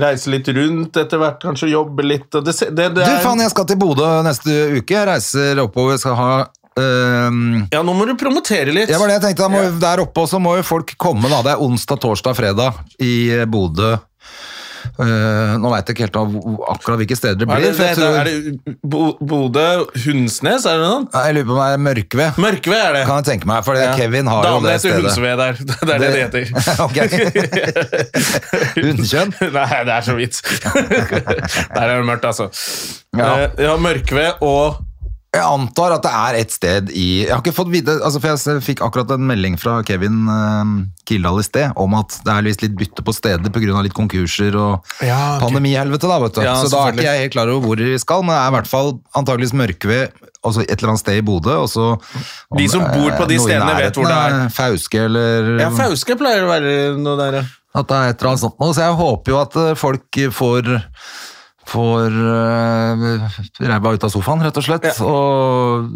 [SPEAKER 1] Reise litt rundt etter hvert, kanskje jobbe litt. og Det, se- det, det
[SPEAKER 2] Du,
[SPEAKER 1] er,
[SPEAKER 2] faen, jeg skal til Bodø neste uke. Jeg reiser oppover, skal ha øhm,
[SPEAKER 1] Ja, nå må du promotere litt.
[SPEAKER 2] Det var det jeg tenkte. Da må, Der oppe også må jo folk komme. da. Det er onsdag, torsdag, fredag i eh, Bodø. Eh, nå veit jeg ikke helt av hvor- akkurat hvilke steder det
[SPEAKER 1] Hva
[SPEAKER 2] blir.
[SPEAKER 1] er det,
[SPEAKER 2] for
[SPEAKER 1] det,
[SPEAKER 2] jeg,
[SPEAKER 1] det,
[SPEAKER 2] tror,
[SPEAKER 1] er det Bo- Bodø Hundsnes, er det noe?
[SPEAKER 2] Nei, jeg lurer på om det er Mørkved,
[SPEAKER 1] Mørkved er det.
[SPEAKER 2] kan jeg tenke meg. For det-
[SPEAKER 1] Ja.
[SPEAKER 2] Kevin har jo
[SPEAKER 1] Damene
[SPEAKER 2] det
[SPEAKER 1] heter
[SPEAKER 2] stedet.
[SPEAKER 1] Hundsved der. Det er det det heter.
[SPEAKER 2] Ok. Hundkjønn?
[SPEAKER 1] Nei, det er så vidt. Der er det mørkt, altså.
[SPEAKER 2] Ja.
[SPEAKER 1] Eh, ja Mørkved og
[SPEAKER 2] Jeg antar at det er et sted i Jeg har ikke fått vite, altså for jeg s- fikk akkurat en melding fra Kevin uh, Kildahl i sted om at det er visst litt bytte på steder pga. litt konkurser og
[SPEAKER 1] Ja, ok.
[SPEAKER 2] pandemihelvete. da, vet du.
[SPEAKER 1] Ja,
[SPEAKER 2] Så da er
[SPEAKER 1] selvfølgelig.
[SPEAKER 2] ikke jeg helt klar over hvor vi skal, men det er i hvert fall antageligvis Mørkved, altså et eller annet sted i Bodø. og så... om
[SPEAKER 1] De som
[SPEAKER 2] det er
[SPEAKER 1] bor på de
[SPEAKER 2] noe i
[SPEAKER 1] stedene vet hvor det
[SPEAKER 2] nærheten,
[SPEAKER 1] er.
[SPEAKER 2] eh, Fauske eller
[SPEAKER 1] Ja, Fauske pleier å være noe der, ja.
[SPEAKER 2] at det er et eller annet sånt nå. Så jeg håper jo at eh, folk får får eh, ræva ut av sofaen, rett og slett, og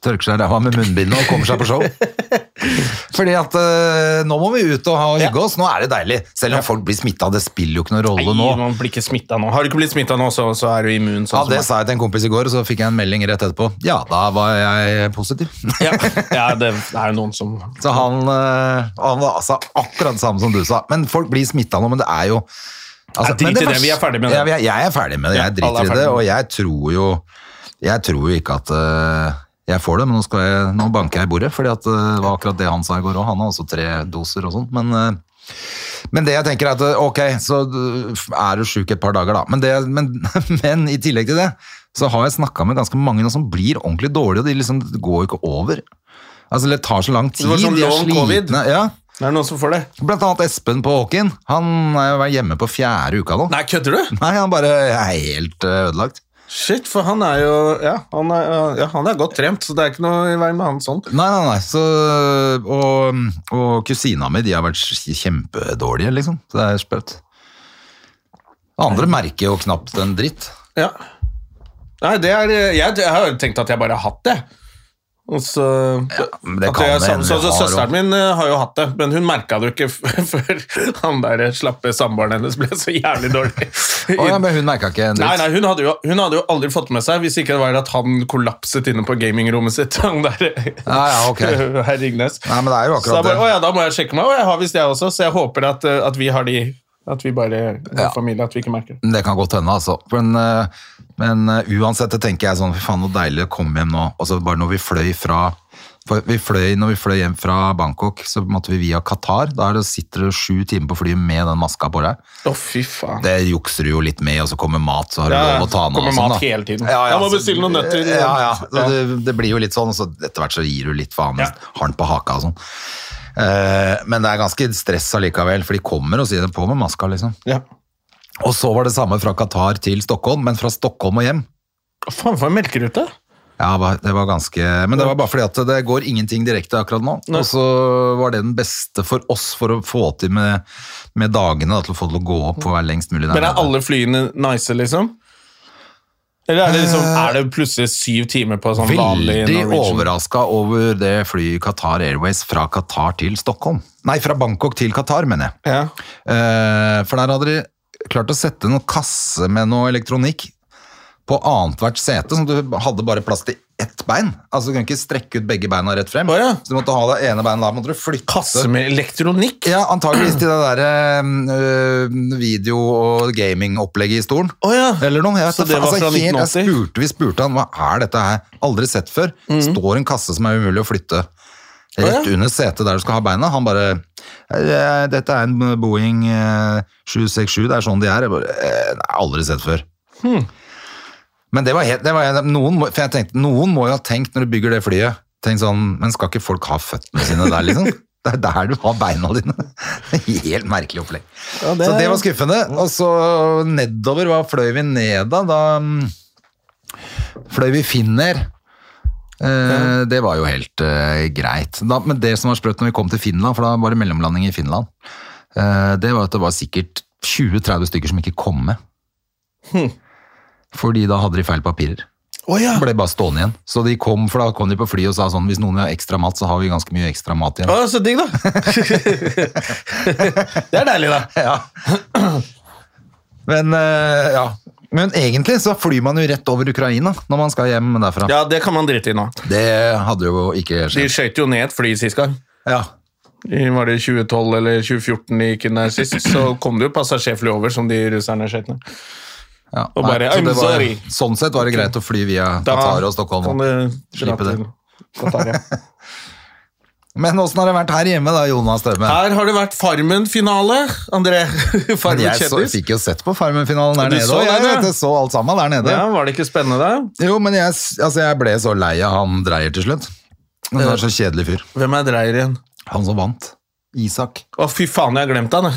[SPEAKER 2] tørker seg i ræva med munnbind og kommer seg på show. Fordi at eh, nå må vi ut og ha og hygge oss. Nå er det deilig. Selv om folk blir smitta, det spiller jo ikke noen rolle nå.
[SPEAKER 1] Nei, man blir ikke smittet nå. Har du ikke blitt smitta nå, så, så er du
[SPEAKER 2] Ja,
[SPEAKER 1] immun. Sånn som
[SPEAKER 2] Det
[SPEAKER 1] meg.
[SPEAKER 2] sa jeg til en kompis i går, og så fikk jeg en melding rett etterpå. Ja, da var jeg positiv.
[SPEAKER 1] ja. ja, det er jo noen som
[SPEAKER 2] Så han, eh, han var- sa akkurat det samme som du sa. Men folk blir smitta nå, men det er jo altså,
[SPEAKER 1] Ja, drit
[SPEAKER 2] men
[SPEAKER 1] i det,
[SPEAKER 2] vers-
[SPEAKER 1] vi er ferdig med det.
[SPEAKER 2] Ja, vi er- jeg er ferdig med det,
[SPEAKER 1] Ja,
[SPEAKER 2] jeg
[SPEAKER 1] alle er
[SPEAKER 2] driter i
[SPEAKER 1] ferdig
[SPEAKER 2] det,
[SPEAKER 1] med
[SPEAKER 2] og
[SPEAKER 1] det.
[SPEAKER 2] jeg tror jo jeg tror jo ikke at eh, jeg får det, men nå, skal jeg, nå banker jeg i bordet, fordi at eh, det var akkurat det han sa i går òg. Han har også tre doser og sånt, men eh, men det jeg tenker er at eh, ok, så du- er du syk et par dager da. Men, det, men, men i tillegg til det, så har jeg snakket med ganske mange nå som blir ordentlig dårlige, og de liksom det går jo ikke over. Altså det tar så lang tid,
[SPEAKER 1] Det var sånn
[SPEAKER 2] de er
[SPEAKER 1] long covid.
[SPEAKER 2] slitne. Ja.
[SPEAKER 1] Det er noen som får det.
[SPEAKER 2] Blant annet Espen på Håken, han er jo hjemme på fjerde uka nå.
[SPEAKER 1] Nei, kødder du?
[SPEAKER 2] Nei, han bare er helt eh, ødelagt.
[SPEAKER 1] Shit, for han er jo Ja, han er, ja, han er godt trent, så det er ikke noe i veien med han sånn.
[SPEAKER 2] Nei, nei, nei. Så, og, og kusina mi, de har vært kjempedårlige, liksom. Så det er sprøtt. Andre merker jo knapt en dritt.
[SPEAKER 1] Ja. Nei, det er Jeg, jeg har jo tenkt at jeg bare har hatt det. Og så,
[SPEAKER 2] men det
[SPEAKER 1] at
[SPEAKER 2] kan
[SPEAKER 1] jeg,
[SPEAKER 2] det
[SPEAKER 1] så,
[SPEAKER 2] hende
[SPEAKER 1] så, så
[SPEAKER 2] jeg har også.
[SPEAKER 1] Søsteren min eh, har jo hatt det, men hun merka det jo ikke f- før han der slappe samboeren hennes ble så jævlig dårlig.
[SPEAKER 2] Å ja, men hun merka ikke en dritt.
[SPEAKER 1] Nei, nei, hun hadde, jo, hun hadde jo aldri fått med seg hvis ikke det var at han kollapset inne på gamingrommet sitt. Han der,
[SPEAKER 2] Ja, ja, ok.
[SPEAKER 1] Herr Ringnes.
[SPEAKER 2] Nei, men det er jo
[SPEAKER 1] Så jeg
[SPEAKER 2] akkurat
[SPEAKER 1] bare, å
[SPEAKER 2] det.
[SPEAKER 1] ja, da må jeg sjekke meg, og jeg har visst jeg også, så jeg håper at, eh, at vi har de At vi bare vår
[SPEAKER 2] Ja.
[SPEAKER 1] familie, at vi ikke merker det.
[SPEAKER 2] Det kan godt hende, altså. Men, eh, men eh, uansett, det tenker jeg sånn, fy faen, så deilig å komme hjem nå. Og så bare når vi fløy fra for vi fløy, når vi fløy hjem fra Bangkok, så måtte vi via Qatar. Da er det, sitter du sju timer på flyet med den maska på deg.
[SPEAKER 1] Å, fy faen.
[SPEAKER 2] Det jukser du jo litt med, og så kommer mat, så har du
[SPEAKER 1] Ja,
[SPEAKER 2] lov å ta den av.
[SPEAKER 1] kommer
[SPEAKER 2] og sånn,
[SPEAKER 1] mat
[SPEAKER 2] da.
[SPEAKER 1] hele tiden. Jeg må
[SPEAKER 2] så-
[SPEAKER 1] bestille noen nøtter.
[SPEAKER 2] Ja, ja. Så
[SPEAKER 1] Ja.
[SPEAKER 2] det, det blir jo litt sånn, og så etter hvert så gir du litt faen,
[SPEAKER 1] Ja.
[SPEAKER 2] harn på haka og sånn. Eh, men det er ganske stress allikevel, for de kommer og sier det på med maska, liksom.
[SPEAKER 1] Ja.
[SPEAKER 2] Og så var det samme fra Qatar til Stockholm, men fra Stockholm og hjem.
[SPEAKER 1] Å, Faen, for en melkerute!
[SPEAKER 2] Ja, det var- det var ganske Men det var bare fordi at det går ingenting direkte akkurat nå.
[SPEAKER 1] Nei.
[SPEAKER 2] Og så var det den beste for oss for å få til med, med dagene, da, til å få til å gå opp og være lengst mulig der.
[SPEAKER 1] Men er
[SPEAKER 2] nede.
[SPEAKER 1] alle flyene nice, liksom? Eller er det, liksom, er det plutselig syv timer på sånn vanlig
[SPEAKER 2] Eh, Veldig
[SPEAKER 1] Norwegian?
[SPEAKER 2] overraska over det flyet Qatar Airways fra Qatar til Stockholm. Nei, fra Bangkok til Qatar, mener jeg.
[SPEAKER 1] Ja.
[SPEAKER 2] Eh, For der hadde de klart å sette noen kasse med noe elektronikk på annethvert sete, sånn at du hadde bare plass til ett bein. Altså Du kunne ikke strekke ut begge beina rett frem.
[SPEAKER 1] Å, ja.
[SPEAKER 2] Så du måtte ha det ene beinet der, måtte du flytte
[SPEAKER 1] Kasse med elektronikk?
[SPEAKER 2] Ja, antageligvis til det der eh, video- og gaming-opplegget i stolen.
[SPEAKER 1] Å ja!
[SPEAKER 2] Eller noe, jeg vet
[SPEAKER 1] Så
[SPEAKER 2] da
[SPEAKER 1] det
[SPEAKER 2] faen.
[SPEAKER 1] var fra
[SPEAKER 2] altså, helt, jeg
[SPEAKER 1] 1980?
[SPEAKER 2] spurte, Vi spurte han, hva er dette her? Aldri sett før. Står en kasse som er umulig å flytte rett
[SPEAKER 1] Mhm. Å, ja.
[SPEAKER 2] under setet der du skal ha beina. Han bare, «Eh, dette er en Boeing eh, 767, det er sånn de er. Jeg bare, «Eh, nei, aldri sett før.
[SPEAKER 1] Hmm.
[SPEAKER 2] Men det var helt, det var, noen, må- for jeg tenkte, noen må jo ha tenkt når du bygger det flyet, tenkt sånn, men skal ikke folk ha føttene sine der liksom? Det Det er der du har beina dine. Helt merkelig opplegg.
[SPEAKER 1] det-
[SPEAKER 2] Så det var skuffende. Og så nedover, hva fløy vi ned da? Da mm, fløy vi Finner. Eh, det var jo helt eh, greit. Da, men det som var sprøtt når vi kom til Finland, for da var det mellomlanding i Finland, eh, det var at det var sikkert 20-30 stykker som ikke kom med. Fordi da hadde de feil papirer.
[SPEAKER 1] Hm. Å ja.
[SPEAKER 2] Ble bare stående igjen. Så de kom, for da kom de på flyet og sa sånn Hvis noen vil ha ekstra mat, så har vi ganske mye ekstra mat igjen.
[SPEAKER 1] Å, så digg, da. det er deilig, da.
[SPEAKER 2] Ja. Men, eh, ja. Men egentlig så flyr man jo rett over Ukraina når man skal hjem derfra.
[SPEAKER 1] Ja, det kan man drite i nå.
[SPEAKER 2] Det hadde jo ikke
[SPEAKER 1] De
[SPEAKER 2] skjedd.
[SPEAKER 1] skøyt jo ned et fly sist gang.
[SPEAKER 2] Ja.
[SPEAKER 1] I, var det 2012 eller 2014 de gikk inn der sist, så kom det jo passasjerfly over som de russerne skøyt ned.
[SPEAKER 2] Ja.
[SPEAKER 1] Og bare,
[SPEAKER 2] så
[SPEAKER 1] I'm
[SPEAKER 2] det var,
[SPEAKER 1] sorry.
[SPEAKER 2] sånn sett var det greit å fly via
[SPEAKER 1] Da
[SPEAKER 2] Qatar og Stockholm.
[SPEAKER 1] kan du dra
[SPEAKER 2] Slippe det.
[SPEAKER 1] til Qatar, ja.
[SPEAKER 2] Men åssen har det vært her hjemme, da, Jonas Støme?
[SPEAKER 1] Her har det vært Farmen-finale, André.
[SPEAKER 2] Men
[SPEAKER 1] Farmen
[SPEAKER 2] jeg så,
[SPEAKER 1] kjendis.
[SPEAKER 2] fikk jo sett på Farmen-finalen der
[SPEAKER 1] Du
[SPEAKER 2] nede,
[SPEAKER 1] så
[SPEAKER 2] og
[SPEAKER 1] det,
[SPEAKER 2] jeg
[SPEAKER 1] ja.
[SPEAKER 2] vet, jeg så alt sammen der nede.
[SPEAKER 1] Ja, Var det ikke spennende, da?
[SPEAKER 2] Jo, men jeg, s- altså, jeg ble så lei av han Dreyer til slutt. Han er så kjedelig fyr.
[SPEAKER 1] Hvem er Dreyer igjen?
[SPEAKER 2] Han som vant. Isak.
[SPEAKER 1] Å, fy faen, jeg har glemt han.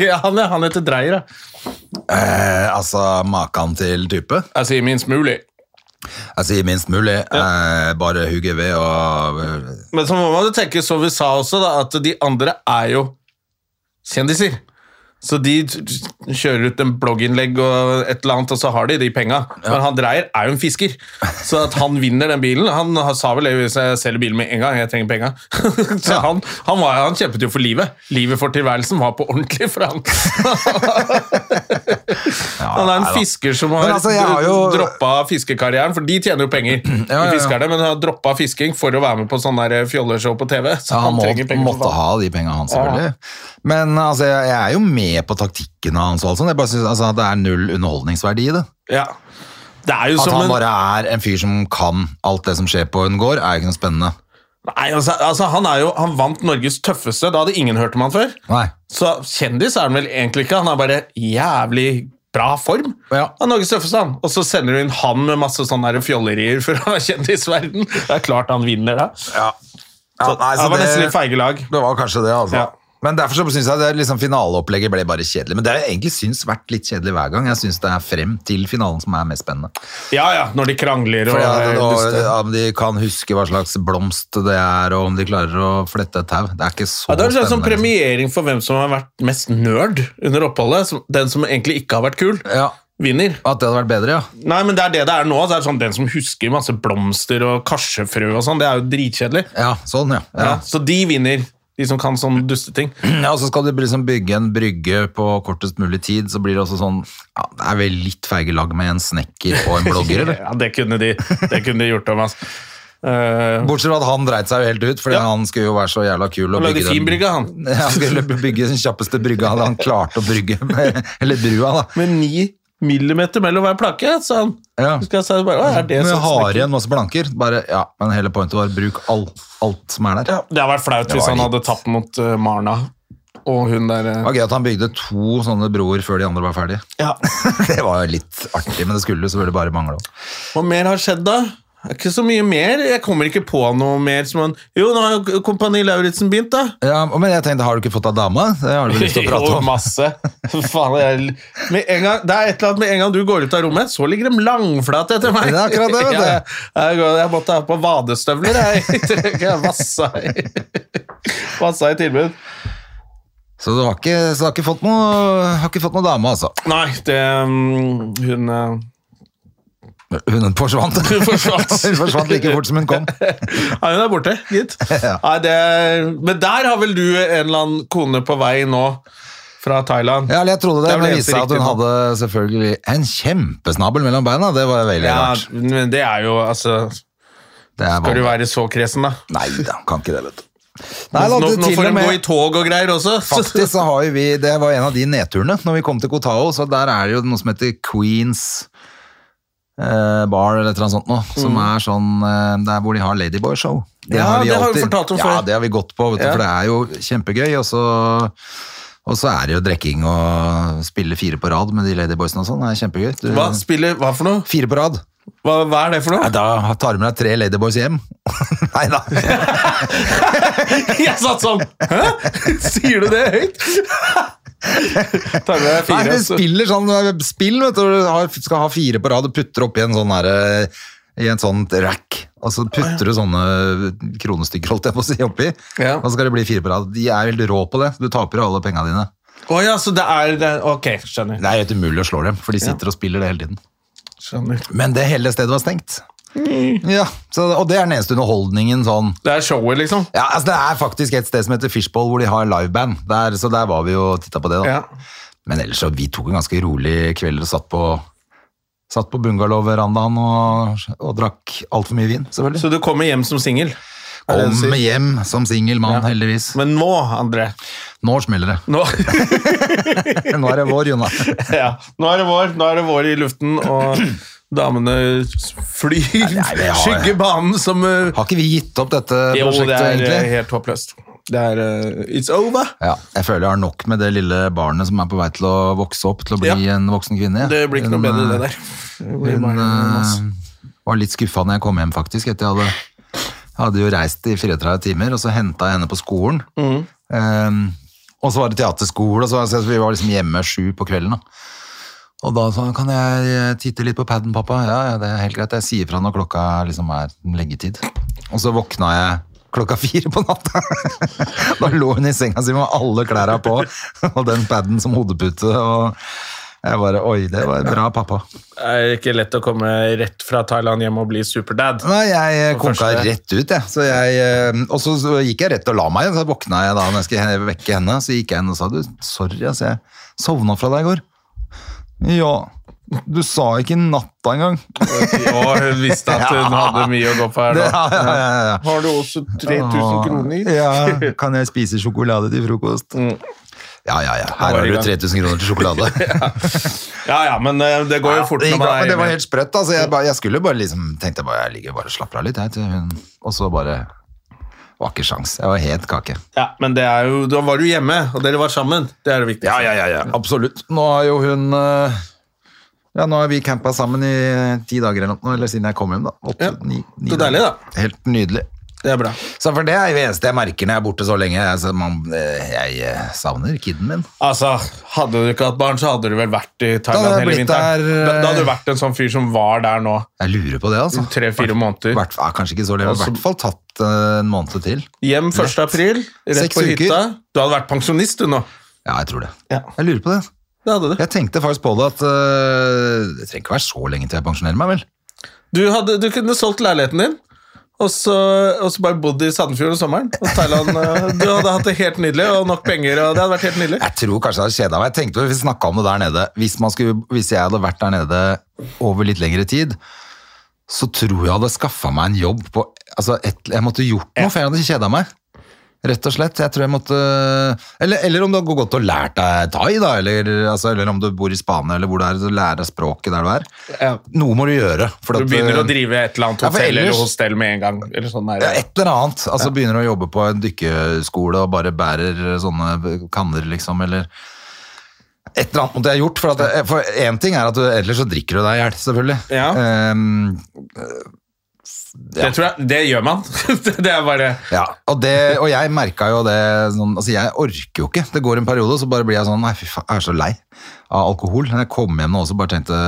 [SPEAKER 1] Ja, han, er- han heter Dreyer, ja.
[SPEAKER 2] Eh, altså, maken til type.
[SPEAKER 1] Jeg sier minst mulig.
[SPEAKER 2] Jeg sier minst mulig. Eh, bare hugge ved og
[SPEAKER 1] Men så må man jo tenke, som vi sa også, da, at de andre er jo kjendiser. Så de t- t- kjører ut en blogginnlegg og et eller annet, og så har de de penga. Men han Dreyer er jo en fisker, så at han vinner den bilen Han har- sa vel det hvis jeg selger bilen med en gang, jeg trenger penga. Så
[SPEAKER 2] Ja.
[SPEAKER 1] han, han, var, han kjempet jo for livet. Livet for tilværelsen var på ordentlig for han. han er en
[SPEAKER 2] nei da.
[SPEAKER 1] fisker som
[SPEAKER 2] Men
[SPEAKER 1] har
[SPEAKER 2] altså, jeg har jo-
[SPEAKER 1] droppa fiskekarrieren, for de tjener jo penger.
[SPEAKER 2] Ja, ja, ja.
[SPEAKER 1] De fiskerne, men han har droppa fisking for å være med på sånn der fjolleshow på TV. Så
[SPEAKER 2] ja,
[SPEAKER 1] han,
[SPEAKER 2] han må,
[SPEAKER 1] trenger penger. for
[SPEAKER 2] måtte
[SPEAKER 1] faen.
[SPEAKER 2] ha de pengene han selvfølgelig. Men altså, jeg, jeg er jo med på taktikkene hans. og alt sånt. Jeg bare synes altså, at det er null underholdningsverdi i det.
[SPEAKER 1] Ja. Det er jo
[SPEAKER 2] At
[SPEAKER 1] som
[SPEAKER 2] han
[SPEAKER 1] en
[SPEAKER 2] bare er en fyr som kan alt det som skjer på en gård, er jo ikke noe spennende.
[SPEAKER 1] Nei, altså, altså han, er jo, han vant Norges tøffeste. Da hadde ingen hørt om han før.
[SPEAKER 2] Nei.
[SPEAKER 1] Så kjendis er han vel egentlig ikke. Han er bare jævlig bra form.
[SPEAKER 2] Ja.
[SPEAKER 1] Han er Norges tøffeste, han. Og så sender du inn han med masse sånne der fjollerier fra kjendisverden. Det er klart han vinner, da.
[SPEAKER 2] Ja.
[SPEAKER 1] Så,
[SPEAKER 2] nei, så
[SPEAKER 1] det var nesten
[SPEAKER 2] det-
[SPEAKER 1] litt feige lag.
[SPEAKER 2] Det var kanskje det, altså.
[SPEAKER 1] Ja.
[SPEAKER 2] Men derfor så synes jeg det er liksom finaleopplegget ble bare kjedelig. Men det har jeg egentlig syns vært litt kjedelig hver gang. Jeg syns det er frem til finalen som er mest spennende.
[SPEAKER 1] Ja ja, når de krangler og eh,
[SPEAKER 2] For ja,
[SPEAKER 1] er
[SPEAKER 2] det- og-
[SPEAKER 1] duste.
[SPEAKER 2] ja, om de kan huske hva slags blomst det er, og om de klarer å flette et tau. Det er ikke så
[SPEAKER 1] Ja, det er en sånn
[SPEAKER 2] spennende. liksom.
[SPEAKER 1] premiering for hvem som har vært mest nerd under oppholdet. som- Den som egentlig ikke har vært kul,
[SPEAKER 2] Ja,
[SPEAKER 1] vinner.
[SPEAKER 2] At det hadde vært bedre, ja.
[SPEAKER 1] Nei, men det er det det er nå. Så er det sånn, den som husker masse blomster og karsefrø og sånn, det er jo dritkjedelig.
[SPEAKER 2] Ja, sånn, ja.
[SPEAKER 1] Ja.
[SPEAKER 2] ja.
[SPEAKER 1] så de vinner, de som kan sånn dusteting.
[SPEAKER 2] ja og så skal du liksom bygge en brygge på kortest mulig tid, så blir det også sånn ja, Det er vel litt feige lag med en snekker og en blogger, eller?
[SPEAKER 1] Ja, det kunne de, det kunne de gjort, Thomas. Uh,
[SPEAKER 2] Bortsett fra at han dreit seg jo helt ut, fordi
[SPEAKER 1] Ja.
[SPEAKER 2] han skulle jo være så jævla kul. og
[SPEAKER 1] Han lagde
[SPEAKER 2] bygge
[SPEAKER 1] fin
[SPEAKER 2] den-
[SPEAKER 1] brygge, han.
[SPEAKER 2] Han skulle bygge den kjappeste brygga han klarte å brygge, med, eller brua, da.
[SPEAKER 1] med ni millimeter mellom hver plakke, sa han.
[SPEAKER 2] Ja.
[SPEAKER 1] Husker jeg sa bare, «Å, er det
[SPEAKER 2] Men
[SPEAKER 1] sånn
[SPEAKER 2] jeg har
[SPEAKER 1] snekker?»
[SPEAKER 2] igjen masse blanker. Bare, ja, men hele pointet var bruk all, alt som er der.
[SPEAKER 1] Ja, Det hadde vært flaut
[SPEAKER 2] Det
[SPEAKER 1] hvis
[SPEAKER 2] var
[SPEAKER 1] han
[SPEAKER 2] litt-
[SPEAKER 1] hadde tapt mot eh, Marna og hun der eh,
[SPEAKER 2] Det var gøy at han bygde to sånne broer før de andre var ferdige.
[SPEAKER 1] Ja.
[SPEAKER 2] Det var jo litt artig, men det skulle jo selvfølgelig bare mangle. også.
[SPEAKER 1] Hva mer har skjedd, da? Det er Ikke så mye mer. Jeg kommer ikke på noe mer som han Jo, nå har jo Kompani Lauritzen begynt, da.
[SPEAKER 2] Ja, men jeg tenkte, har du ikke fått deg dame? Det har du vel lyst til å prate
[SPEAKER 1] Jo,
[SPEAKER 2] om.
[SPEAKER 1] masse. Faen, jeg... med en gang, det er et eller annet med en gang du går ut av rommet, så ligger de langflate etter meg.
[SPEAKER 2] Det er akkurat det, vet du.
[SPEAKER 1] Jeg, jeg, går- jeg måtte ha på vadestøvler, jeg. jeg vassa i, vassa i tilbud.
[SPEAKER 2] Så du har ikke, så du har ikke fått noe, har ikke fått noe dame, altså.
[SPEAKER 1] Nei, det mm, Hun eh,
[SPEAKER 2] Hun forsvant.
[SPEAKER 1] Hun forsvant.
[SPEAKER 2] hun forsvant like fort som hun kom.
[SPEAKER 1] Ja, hun er borte, gitt.
[SPEAKER 2] Ja.
[SPEAKER 1] Nei, det, men der har vel du en eller annen kone på vei nå fra Thailand?
[SPEAKER 2] Ja, eller jeg trodde det,
[SPEAKER 1] Det er vel
[SPEAKER 2] men det
[SPEAKER 1] det
[SPEAKER 2] viste seg at
[SPEAKER 1] eneste
[SPEAKER 2] hun
[SPEAKER 1] riktige
[SPEAKER 2] hadde selvfølgelig en kjempesnabel mellom beina. Det var veldig
[SPEAKER 1] Ja,
[SPEAKER 2] rart.
[SPEAKER 1] men det er jo altså
[SPEAKER 2] Det er
[SPEAKER 1] Skal du
[SPEAKER 2] vanlig.
[SPEAKER 1] være så kresen, da?
[SPEAKER 2] Nei da, kan ikke det, vet du. Nei, da,
[SPEAKER 1] nå,
[SPEAKER 2] til
[SPEAKER 1] nå
[SPEAKER 2] og
[SPEAKER 1] får hun
[SPEAKER 2] med-
[SPEAKER 1] gå i tog og greier også. så-
[SPEAKER 2] Faktisk så har jo vi, det var en av de nedturene når vi kom til Kotao, så der er det jo noe som heter Queens eh, Bar eller et eller annet sånt nå, som er sånn, eh, det er hvor de har Ladyboy-show.
[SPEAKER 1] Mm. Ja, det har vi
[SPEAKER 2] alltid-
[SPEAKER 1] fortalt om
[SPEAKER 2] Ja,
[SPEAKER 1] før.
[SPEAKER 2] det har vi gått på, vet du,
[SPEAKER 1] Ja.
[SPEAKER 2] for det er jo kjempegøy, og så... Og så er det jo drekking og spille fire på rad med de ladyboysene og sånn, det er kjempegøy. Du,
[SPEAKER 1] Hva spiller, hva for noe?
[SPEAKER 2] Fire på rad.
[SPEAKER 1] Hva, hva er det for
[SPEAKER 2] Nei,
[SPEAKER 1] noe?
[SPEAKER 2] Da tar du med deg tre ladyboys hjem, Nei da.
[SPEAKER 1] Jeg satt sånn Hæ? Sier du det høyt? Tar med
[SPEAKER 2] Nei,
[SPEAKER 1] fire. altså.
[SPEAKER 2] de
[SPEAKER 1] så-
[SPEAKER 2] spiller sånn eh, spill, vet du. hvor du har- Skal ha fire på rad og putter opp i en sånn her, eh, i en sånn rack. Og så putter du sånne kronestykker, holdt jeg på å si, oppi.
[SPEAKER 1] Ja.
[SPEAKER 2] Og så skal det bli fire på rad. De er veldig rå på det. Du taper jo alle penga dine.
[SPEAKER 1] Å ja, så det er det, Ok, skjønner.
[SPEAKER 2] Det er helt umulig å slå dem, for de sitter og spiller det hele tiden.
[SPEAKER 1] skjønner.
[SPEAKER 2] Men det hele stedet var stengt.
[SPEAKER 1] Mm.
[SPEAKER 2] Ja, så, og det er den eneste underholdningen sånn.
[SPEAKER 1] Det er showet, liksom.
[SPEAKER 2] Ja, altså Det er faktisk et sted som heter Fishbowl, hvor de har liveband. Der, så der var vi jo og titta på det. da.
[SPEAKER 1] Ja.
[SPEAKER 2] Men ellers så vi tok en ganske rolig kveld og satt på, satt på bungalow-verandaen og, og drakk altfor mye vin, selvfølgelig.
[SPEAKER 1] Så du kommer hjem som singel. er det du
[SPEAKER 2] Kom
[SPEAKER 1] sier?
[SPEAKER 2] hjem som singel mann,
[SPEAKER 1] Ja.
[SPEAKER 2] heldigvis.
[SPEAKER 1] Men nå, André
[SPEAKER 2] Nå smeller det.
[SPEAKER 1] nå,
[SPEAKER 2] Nå er det vår, Jonna.
[SPEAKER 1] ja. nå er det vår. Nå er det vår i luften, og damene flyr.
[SPEAKER 2] nei, vi har-
[SPEAKER 1] Skygger banen som eh,
[SPEAKER 2] Har ikke vi gitt opp dette
[SPEAKER 1] Jo,
[SPEAKER 2] prosjektet,
[SPEAKER 1] det er eh,
[SPEAKER 2] egentlig?
[SPEAKER 1] helt håpløst. Det er eh, It's over.
[SPEAKER 2] Ja, jeg føler jeg har nok med det lille barnet som er på vei til å vokse opp til å bli
[SPEAKER 1] Ja.
[SPEAKER 2] en voksen kvinne. jeg.
[SPEAKER 1] Det blir ikke noe
[SPEAKER 2] Hun,
[SPEAKER 1] bedre, det
[SPEAKER 2] eh,
[SPEAKER 1] der. Det blir
[SPEAKER 2] Hun
[SPEAKER 1] bare masse.
[SPEAKER 2] eh, var litt skuffa når jeg kom hjem, faktisk. Etter jeg hadde, hadde jo reist i 34 timer, og så henta jeg henne på skolen. Eh, og så var det teaterskole, og så, så vi var liksom hjemme sju på kvelden. Da. Og da sa han kan jeg eh, titte litt på paden, pappa. Ja, ja, det er helt greit. Jeg sier fra når klokka liksom er leggetid. Og så våkna jeg klokka fire på natta. da lå hun i senga si med alle klærne på, og den paden som hodepute. og... Jeg bare, Oi, det var bra, pappa.
[SPEAKER 1] Det er ikke lett å komme rett fra Thailand hjem og bli superdad.
[SPEAKER 2] Nei, jeg eh,
[SPEAKER 1] På
[SPEAKER 2] konka
[SPEAKER 1] første-
[SPEAKER 2] rett ut, jeg. Så jeg eh, og så, så gikk jeg rett og la meg, så våkna jeg da når jeg skulle he- vekke henne. Så gikk jeg inn og sa du, sorry, ass, jeg sovna fra deg i går. Ja, du sa ikke natta engang.
[SPEAKER 1] Og hun visste at hun hadde mye å gå på her
[SPEAKER 2] Det,
[SPEAKER 1] nå.
[SPEAKER 2] ja, ja, ja, ja.
[SPEAKER 1] Har du også 3000 kroner? Mm.
[SPEAKER 2] Ja, kan jeg spise sjokolade til frokost? Ja, ja, ja. Her
[SPEAKER 1] var
[SPEAKER 2] har
[SPEAKER 1] i
[SPEAKER 2] du
[SPEAKER 1] gang.
[SPEAKER 2] 3000 kroner til sjokolade.
[SPEAKER 1] Ja, ja, men eh, det går jo fort
[SPEAKER 2] det
[SPEAKER 1] når
[SPEAKER 2] gikk
[SPEAKER 1] man
[SPEAKER 2] bra,
[SPEAKER 1] er
[SPEAKER 2] men det var
[SPEAKER 1] hjemme.
[SPEAKER 2] helt sprøtt. Altså, jeg, bare, jeg skulle bare liksom tenkte jeg bare, jeg ligger bare og slapper av litt, jeg, til hun. Og så bare var ikke sjans. Jeg var helt kake.
[SPEAKER 1] Ja, men det er jo, da var du hjemme, og dere var sammen. Det er det viktigste.
[SPEAKER 2] Ja, ja, ja, ja. absolutt. Nå har jo hun eh, Ja, nå har vi campa sammen i eh, ti dager eller noe, eller siden jeg kom hjem, da. Åtte,
[SPEAKER 1] Ja.
[SPEAKER 2] ni, ni
[SPEAKER 1] Så deilig,
[SPEAKER 2] dager. Helt nydelig.
[SPEAKER 1] Det er bra.
[SPEAKER 2] Så for det er jo det eneste jeg merker når jeg er borte så lenge. Altså, man, eh, jeg eh, savner kiden min.
[SPEAKER 1] Altså, Hadde du ikke hatt barn, så hadde du vel vært i
[SPEAKER 2] Da
[SPEAKER 1] Thailand
[SPEAKER 2] hadde jeg
[SPEAKER 1] hele
[SPEAKER 2] blitt
[SPEAKER 1] vinteren.
[SPEAKER 2] der, eh,
[SPEAKER 1] Da, da hadde du vært en sånn fyr som var der nå
[SPEAKER 2] Jeg lurer på det,
[SPEAKER 1] i
[SPEAKER 2] altså.
[SPEAKER 1] tre-fire måneder.
[SPEAKER 2] Hvert, ja, kanskje ikke så lenge, men i
[SPEAKER 1] Altså-
[SPEAKER 2] hvert fall tatt eh, en måned til.
[SPEAKER 1] Hjem 1. april, rett
[SPEAKER 2] Seks
[SPEAKER 1] på
[SPEAKER 2] uker.
[SPEAKER 1] hytta. Du hadde vært pensjonist, du nå.
[SPEAKER 2] Ja, jeg tror det.
[SPEAKER 1] Ja.
[SPEAKER 2] Jeg lurer på det.
[SPEAKER 1] Det hadde du.
[SPEAKER 2] Jeg tenkte faktisk på det at eh, det trenger ikke være så lenge til jeg pensjonerer meg, vel?
[SPEAKER 1] Du, hadde, du kunne solgt leiligheten din, og så, og så bare bodd i Sandefjord om sommeren. Og Thailand, eh, du hadde hatt det helt nydelig, og nok penger, og det hadde vært helt nydelig.
[SPEAKER 2] Jeg tror kanskje det hadde kjeda meg. Jeg tenkte Vi snakka om det der nede. Hvis, man skulle, hvis jeg hadde vært der nede over litt lengre tid, så tror jeg hadde skaffa meg en jobb på altså et, Jeg måtte gjort noe, for jeg hadde kjeda meg. Rett og slett. Jeg tror jeg måtte Eller, eller om du har gått og lært deg thai, da. Eller, altså, eller om du bor i Spania, eller hvor det er, så lære deg språket der du er.
[SPEAKER 1] Ja.
[SPEAKER 2] Noe må du gjøre. For
[SPEAKER 1] Du
[SPEAKER 2] at, eh,
[SPEAKER 1] begynner å drive et eller annet
[SPEAKER 2] Ja, for
[SPEAKER 1] hotell eller
[SPEAKER 2] ellers-
[SPEAKER 1] hostell med en gang. Eller sånn der.
[SPEAKER 2] ja, et eller annet. Altså Begynner å jobbe på en dykkeskole og bare bærer sånne kanner, liksom, eller Et eller annet måtte jeg gjort. For at jeg- for én ting er at du ellers så drikker du deg i hjel, selvfølgelig.
[SPEAKER 1] Ja.
[SPEAKER 2] Ehm,
[SPEAKER 1] Det, tror jeg, det gjør man. det er bare
[SPEAKER 2] ja. Og, det, og jeg merka jo det sånn Altså, jeg orker jo ikke. Det går en periode, og så bare blir jeg sånn Nei, fy faen, jeg er så lei av alkohol. Når jeg kom hjem nå også, bare tenkte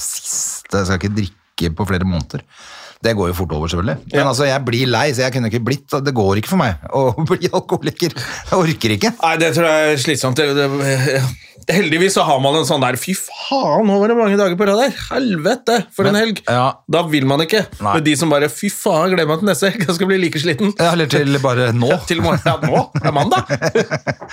[SPEAKER 2] Sist, jeg skal ikke drikke på flere måneder. Det går jo fort over, selvfølgelig. Men
[SPEAKER 1] Ja.
[SPEAKER 2] altså, jeg blir lei, så jeg kunne ikke blitt Det går ikke for meg å bli alkoholiker. Jeg orker ikke.
[SPEAKER 1] Nei, det tror jeg er slitsomt. Det, det, heldigvis så har man en sånn der Fy faen, nå var det mange dager på rad her! Helvete, for en
[SPEAKER 2] Men-
[SPEAKER 1] helg!
[SPEAKER 2] ja.
[SPEAKER 1] Da vil man ikke.
[SPEAKER 2] Nei.
[SPEAKER 1] Men de som bare Fy faen, gleder meg til neste helg, jeg skal bli like sliten.
[SPEAKER 2] Ja, Eller til bare nå.
[SPEAKER 1] Til i morgen. Ja, nå er det mandag!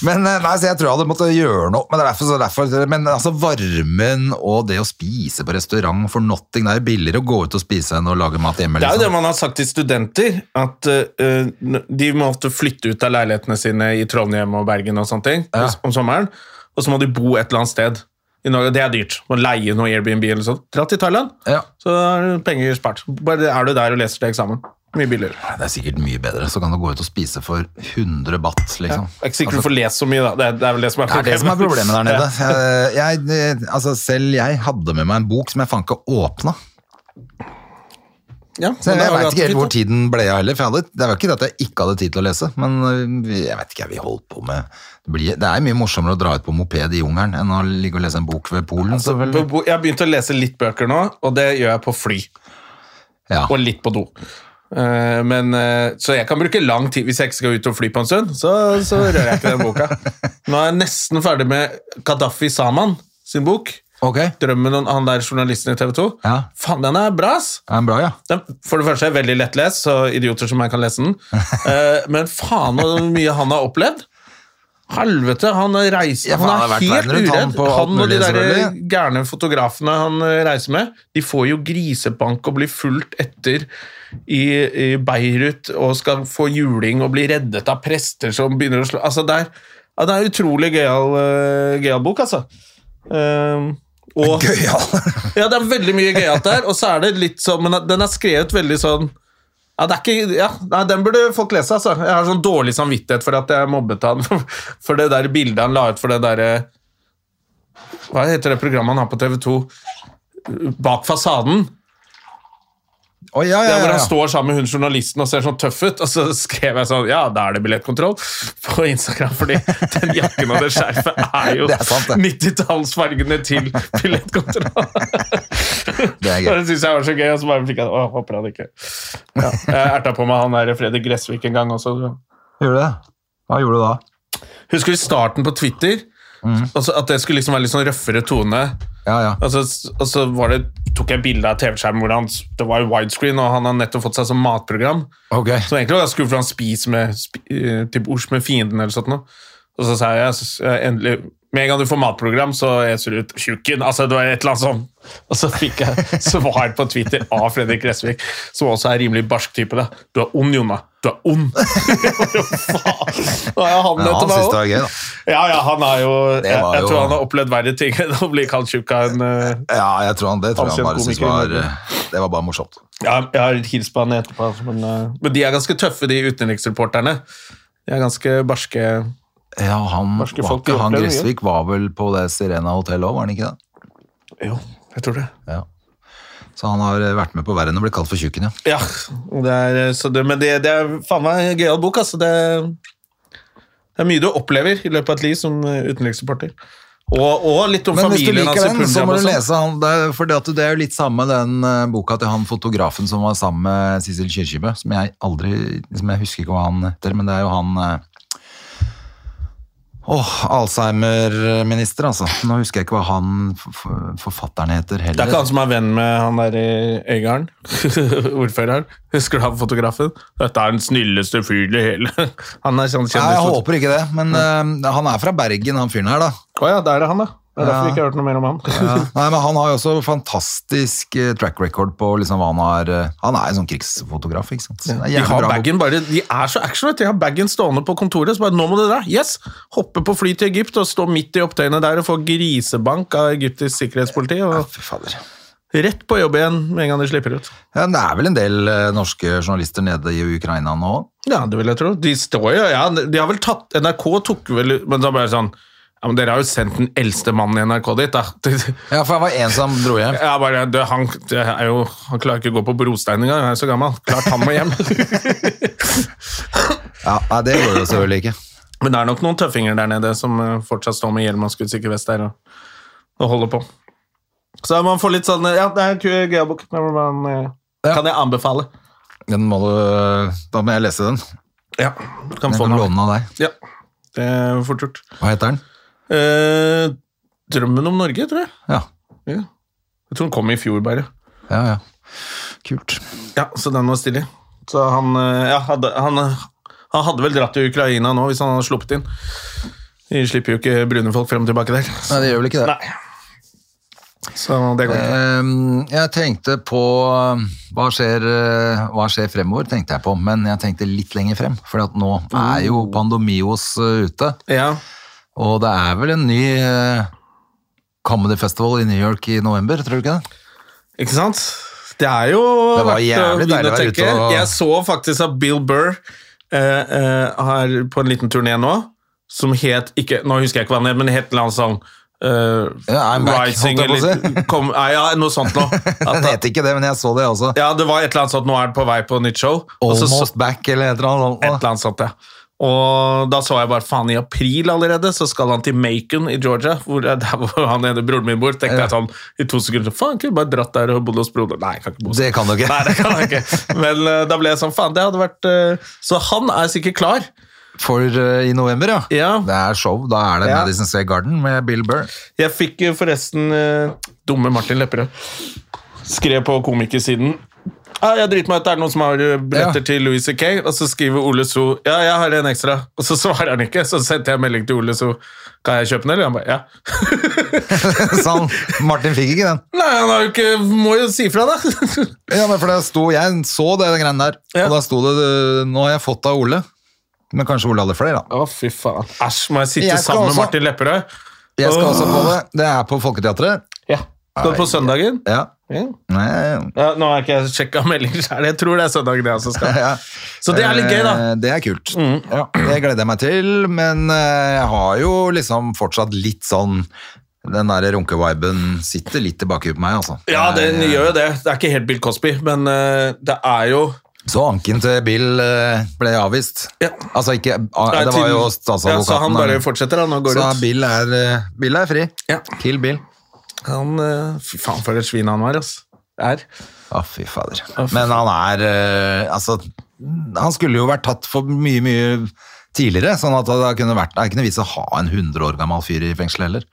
[SPEAKER 2] Men eh, nei, så jeg tror jeg hadde måttet gjøre noe. Men, det er derfor, så derfor, men altså varmen og det å spise på restaurant for nothing, det er jo billigere å gå ut og spise enn å lage mat hjemme.
[SPEAKER 1] Det er jo det
[SPEAKER 2] Liksom.
[SPEAKER 1] man har sagt til studenter, at eh, n- de måtte flytte ut av leilighetene sine i Trondheim og Bergen og sånne ting
[SPEAKER 2] Ja.
[SPEAKER 1] om sommeren, og så må de bo et eller annet sted. I Norge, Det er dyrt. Må leie noe Airbnb eller sånt. Dra til Thailand,
[SPEAKER 2] Ja.
[SPEAKER 1] så er det penger spart. Bare er du der og leser til eksamen. Mye billigere.
[SPEAKER 2] det er sikkert mye bedre. Så kan du gå ut og spise for 100 baht, liksom.
[SPEAKER 1] Det er ikke sikkert du får lest så mye, da. Det er, det er vel det som er
[SPEAKER 2] Det er det som er problemet der nede. Eh, Jeg, eh, altså selv jeg hadde med meg en bok som jeg faen ikke åpna.
[SPEAKER 1] Ja,
[SPEAKER 2] Så jeg
[SPEAKER 1] men da har vi
[SPEAKER 2] veit
[SPEAKER 1] hatt
[SPEAKER 2] ikke helt
[SPEAKER 1] tid,
[SPEAKER 2] hvor
[SPEAKER 1] da.
[SPEAKER 2] tiden ble av heller. For jeg hadde, det var ikke det at jeg ikke hadde tid til å lese, men øh, vi- jeg vet ikke hva vi holdt på med. Det, blir, det er mye morsommere å dra ut på moped i jungelen enn å ligge og lese en bok ved Polen.
[SPEAKER 1] Altså, På
[SPEAKER 2] selvfølgelig.
[SPEAKER 1] bo- Jeg har begynt å lese litt bøker nå, og det gjør jeg på fly.
[SPEAKER 2] Ja.
[SPEAKER 1] Og litt på do. Eh, Men, eh, så jeg kan bruke lang tid hvis jeg ikke skal ut og fly på en stund. Så, så rører jeg ikke den boka. Nå er jeg nesten ferdig med Kadafi Saman sin bok.
[SPEAKER 2] Ok, det
[SPEAKER 1] 'Drømmen' om han der journalisten i TV 2.
[SPEAKER 2] Ja.
[SPEAKER 1] Faen, den er bra, ass!
[SPEAKER 2] er bra, ja.
[SPEAKER 1] Den, for det første er veldig lettlest, så idioter som meg kan lese den. Eh, men faen hvor mye han har opplevd! Helvete, han reiser
[SPEAKER 2] Ja, for han
[SPEAKER 1] Han
[SPEAKER 2] har
[SPEAKER 1] er
[SPEAKER 2] vært
[SPEAKER 1] helt
[SPEAKER 2] verden rundt,
[SPEAKER 1] uredd.
[SPEAKER 2] han,
[SPEAKER 1] Han,
[SPEAKER 2] på alt
[SPEAKER 1] og de
[SPEAKER 2] mulig,
[SPEAKER 1] der
[SPEAKER 2] selvfølgelig.
[SPEAKER 1] gærne fotografene han eh, reiser med, de får jo grisebank og blir fulgt etter i, i Beirut og skal få juling og bli reddet av prester som begynner å slå Altså, det er, ja, det er utrolig gøyal eh, gøyal bok, altså. Eh, og
[SPEAKER 2] Gøyal!
[SPEAKER 1] ja, det er veldig mye gøyalt der, og så er det litt sånn Men den er skrevet veldig sånn ja, det er ikke, ja, nei, Den burde folk lese. altså. Jeg har sånn dårlig samvittighet for at jeg mobbet han for det der bildet han la ut for det derre Hva heter det programmet han har på TV2? Bak fasaden.
[SPEAKER 2] Å, ja,
[SPEAKER 1] Det
[SPEAKER 2] ja,
[SPEAKER 1] er hvor
[SPEAKER 2] ja,
[SPEAKER 1] han
[SPEAKER 2] ja.
[SPEAKER 1] står sammen med hun journalisten og ser sånn tøff ut. Og så skrev jeg sånn Ja, da er det billettkontroll på Instagram, fordi den jakken og det skjerfet er jo
[SPEAKER 2] Det er sant, det.
[SPEAKER 1] 90-tallsfargene til billettkontroll.
[SPEAKER 2] Det er
[SPEAKER 1] Og
[SPEAKER 2] gøy.
[SPEAKER 1] det synes jeg var så gøy, og så bare fikk jeg Åh, håper han ikke ja. Jeg erta på meg han der Fredrik Gressvik en gang også.
[SPEAKER 2] Gjorde du det? Hva gjorde du da?
[SPEAKER 1] Husker du starten på Twitter?
[SPEAKER 2] Mm.
[SPEAKER 1] Altså, at det skulle liksom være litt sånn røffere tone.
[SPEAKER 2] Ja, ja.
[SPEAKER 1] Og så, og så var det, tok jeg bilde av TV-skjermen hvor han, det var jo widescreen, og han har nettopp fått seg som matprogram.
[SPEAKER 2] Ok.
[SPEAKER 1] Som egentlig var ganske skummelt, for han spiser med, sp eh, til bords med fienden eller sånt noe. Og så sa jeg, så- jeg endelig, med en gang du får matprogram, så eser du ut tjukken. Altså, det var et eller annet sånn. Og så fikk jeg svar på Twitter av Fredrik Gressvik, som også er rimelig barsk type. Da. Du er ond, Jonna. Du er ond. Faen. Da er han
[SPEAKER 2] Men
[SPEAKER 1] etter
[SPEAKER 2] han syntes
[SPEAKER 1] meg
[SPEAKER 2] det
[SPEAKER 1] også.
[SPEAKER 2] var gøy, da.
[SPEAKER 1] Ja, ja, han har jo, jeg,
[SPEAKER 2] var
[SPEAKER 1] jeg
[SPEAKER 2] jo-
[SPEAKER 1] tror han har opplevd verre ting enn å bli kalt tjukk av en eh,
[SPEAKER 2] Ja, jeg tror han, det tror jeg han
[SPEAKER 1] Ansikt
[SPEAKER 2] bare syntes
[SPEAKER 1] komiker i
[SPEAKER 2] var
[SPEAKER 1] Norge.
[SPEAKER 2] eh, Det var bare morsomt.
[SPEAKER 1] Ja, jeg har hilst på han etterpå, altså, men, eh, men de er ganske tøffe, de utenriksreporterne. De er ganske barske.
[SPEAKER 2] Ja, han, var
[SPEAKER 1] Norske folk
[SPEAKER 2] ikke, han
[SPEAKER 1] opplever mye.
[SPEAKER 2] Gressvik var vel på det Sirena Hotel òg, var han ikke det?
[SPEAKER 1] Jo, jeg tror det.
[SPEAKER 2] Ja. Så han har eh, vært med på verre enn å bli kalt for tjukken, ja.
[SPEAKER 1] Ja, det er, eh, så det, men det, det er faen meg en gøyal bok, altså. Det, det er mye du opplever i løpet av et liv som eh, utenriksreporter. Og, og litt om
[SPEAKER 2] Men hvis du
[SPEAKER 1] familien
[SPEAKER 2] liker den, så må du
[SPEAKER 1] Punjab og sånn.
[SPEAKER 2] lese han. Det er, fordi at det er jo litt samme den eh, boka til han fotografen som var sammen med Sissel Kyrkjebø, som jeg aldri som jeg husker ikke hva han heter, men det er jo han eh, Åh, Alzheimer-minister, altså. Nå husker jeg ikke hva han f- f- forfatteren heter heller.
[SPEAKER 1] Det er ikke han som er venn med han der i Øygarden, ordføreren. Husker du han fotografen? Dette er den snilleste fyren i hele Han er sånn
[SPEAKER 2] Nei, jeg
[SPEAKER 1] kjendis.
[SPEAKER 2] håper ikke det, men eh, han er fra Bergen, han fyren her, da.
[SPEAKER 1] Å ja, der er han, da. Det er derfor vi ikke har hørt noe mer om han.
[SPEAKER 2] Ja. Nei, men han har jo også fantastisk eh, track record på liksom hva han har eh, Han er en sånn krigsfotograf, ikke sant. Så det er
[SPEAKER 1] De
[SPEAKER 2] jævlig
[SPEAKER 1] har
[SPEAKER 2] bra bok.
[SPEAKER 1] baggen bare, de er så action, vet du. De har baggen stående på kontoret, så bare 'nå må du dra'. Yes! Hoppe på fly til Egypt og stå midt i opptøyene der og få grisebank av egyptisk sikkerhetspoliti. Og
[SPEAKER 2] Fy fader.
[SPEAKER 1] rett på jobb igjen med en gang de slipper ut.
[SPEAKER 2] Ja, det er vel en del eh, norske journalister nede i Ukraina nå?
[SPEAKER 1] Ja, det vil jeg tro. De står jo, ja, de har vel tatt NRK tok vel Men så ble det sånn ja, men Dere har jo sendt den eldste mannen i NRK dit, da.
[SPEAKER 2] Ja, for jeg var en som dro hjem.
[SPEAKER 1] Ja, bare, det, han, det er jo, han klarer ikke å gå på brostein engang, han er så gammel. Klart han må hjem.
[SPEAKER 2] Ja, nei, det går jo selvfølgelig ikke.
[SPEAKER 1] Men det er nok noen tøffinger der nede som eh, fortsatt står med hjelm og skuddsikker vest der og, og holder på. Så man får litt sånn eh, Ja, det er en kul gøyabok. men man, eh,
[SPEAKER 2] Ja.
[SPEAKER 1] Kan jeg anbefale.
[SPEAKER 2] Den må du, da må jeg lese den.
[SPEAKER 1] Ja, du kan
[SPEAKER 2] Den
[SPEAKER 1] få
[SPEAKER 2] kan
[SPEAKER 1] den. av meg.
[SPEAKER 2] låne den av deg.
[SPEAKER 1] Ja, det er fort gjort.
[SPEAKER 2] Hva heter den?
[SPEAKER 1] Eh, drømmen om Norge, tror jeg.
[SPEAKER 2] Ja,
[SPEAKER 1] Ja. Jeg tror den kom i fjor, bare.
[SPEAKER 2] ja, ja. Kult.
[SPEAKER 1] Ja, Så den var stilig. Så han, eh, ja, hadde, han, eh, han hadde vel dratt til Ukraina nå, hvis han hadde sluppet inn. De slipper jo ikke brune folk frem og tilbake der.
[SPEAKER 2] Nei, det gjør vel ikke det.
[SPEAKER 1] Nei. Så det går ikke.
[SPEAKER 2] Ehm, Jeg tenkte på eh, hva skjer, eh, hva skjer fremover, tenkte jeg på. Men jeg tenkte litt lenger frem, for at nå er jo
[SPEAKER 1] Oh.
[SPEAKER 2] Pandomios eh, ute.
[SPEAKER 1] Ja.
[SPEAKER 2] Og det er vel en ny eh, Comedy Festival i New York i november, tror du ikke det?
[SPEAKER 1] Ikke sant? Det er jo
[SPEAKER 2] Det var
[SPEAKER 1] verdt å
[SPEAKER 2] jævlig
[SPEAKER 1] begynne
[SPEAKER 2] deilig å være
[SPEAKER 1] tenke.
[SPEAKER 2] ute og-
[SPEAKER 1] Jeg så faktisk at Bill Burr eh, eh, har på en liten turné nå, som het ikke, Nå husker jeg ikke hva han het, men het noe sånn eh,
[SPEAKER 2] Ja, I'm back,
[SPEAKER 1] rising
[SPEAKER 2] holdt jeg på å
[SPEAKER 1] eller kom, nei, ja, noe sånt nå. At,
[SPEAKER 2] Jeg vet ikke det, men jeg så det også.
[SPEAKER 1] ja, det var et eller annet sånt, nå er den på vei på nytt show. Og så-
[SPEAKER 2] Almost back eller et eller annet.
[SPEAKER 1] Et eller annet sånt, ja. Og da så jeg bare faen, i april allerede så skal han til Macon i Georgia, hvor eh, der hvor han ene broren min bor. tenkte jeg sånn i to sekunder faen, kunne jeg bare dratt der og bodd hos broderen. Nei, jeg kan ikke bo
[SPEAKER 2] Det kan du ikke.
[SPEAKER 1] Nei, det kan jeg ikke. Men eh, da ble jeg sånn, faen, det hadde vært eh, Så han er sikkert klar.
[SPEAKER 2] For eh, i november, ja.
[SPEAKER 1] Ja.
[SPEAKER 2] Det er show, da er det
[SPEAKER 1] Ja.
[SPEAKER 2] Madison Square Garden med Bill Burr.
[SPEAKER 1] Jeg fikk eh, forresten eh, dumme Martin Lepperød. Skrev på komikersiden ah, jeg driter meg ut, det er noen som har eh, billetter
[SPEAKER 2] Ja.
[SPEAKER 1] til Louis C.K. Og så skriver Ole So ja, jeg har en ekstra. Og så svarer han ikke. Så sendte jeg melding til Ole So kan jeg kjøpe den, eller? Han bare ja.
[SPEAKER 2] Så han, Martin fikk ikke den.
[SPEAKER 1] Nei, han har jo ikke Må jo si fra, da.
[SPEAKER 2] Ja, men for det sto, Jeg så det den greiene der,
[SPEAKER 1] Ja.
[SPEAKER 2] og da sto det eh, Nå har jeg fått av Ole. Men kanskje Ole hadde flere, da.
[SPEAKER 1] Å, fy faen. Æsj, må jeg sitte
[SPEAKER 2] Jeg skal
[SPEAKER 1] sammen
[SPEAKER 2] også-
[SPEAKER 1] med Martin Lepperød?
[SPEAKER 2] Jeg skal
[SPEAKER 1] Åh.
[SPEAKER 2] også på det. Det er på Folketeatret.
[SPEAKER 1] Ja. Skal du på søndagen?
[SPEAKER 2] Ja.
[SPEAKER 1] Ja.
[SPEAKER 2] Nei, ja.
[SPEAKER 1] Ja, nå har ikke jeg sjekka meldinger sjøl. Jeg tror det er søndagen jeg også skal.
[SPEAKER 2] Ja.
[SPEAKER 1] Så det er litt gøy, da. Mm.
[SPEAKER 2] Eh, Det er kult. Ja, det gleder jeg meg til, men eh, jeg har jo liksom fortsatt litt sånn Den der runkeviben sitter litt tilbake på meg, altså.
[SPEAKER 1] Ja, den
[SPEAKER 2] Jeg-
[SPEAKER 1] gjør jo det. Det er ikke helt Bill Cosby, men eh, det er jo
[SPEAKER 2] Eh, Så anken til Bill eh, ble avvist.
[SPEAKER 1] Ja.
[SPEAKER 2] Altså ikke ah,
[SPEAKER 1] Nei,
[SPEAKER 2] Det var
[SPEAKER 1] til-
[SPEAKER 2] jo
[SPEAKER 1] Ja, så han
[SPEAKER 2] statsadvokaten.
[SPEAKER 1] bare
[SPEAKER 2] der.
[SPEAKER 1] fortsetter, han, og går
[SPEAKER 2] så
[SPEAKER 1] ut.
[SPEAKER 2] Bill er, eh, Bill er fri.
[SPEAKER 1] Ja.
[SPEAKER 2] Kill Bill.
[SPEAKER 1] Han, eh, fy faen, for et svin han var, ass. Er.
[SPEAKER 2] Å, fy fader. Men han er eh, Altså, han skulle jo vært tatt for mye, mye tidligere. Sånn at det kunne vært Det er ikke noe vits å ha en 100 år gammel fyr i fengsel heller.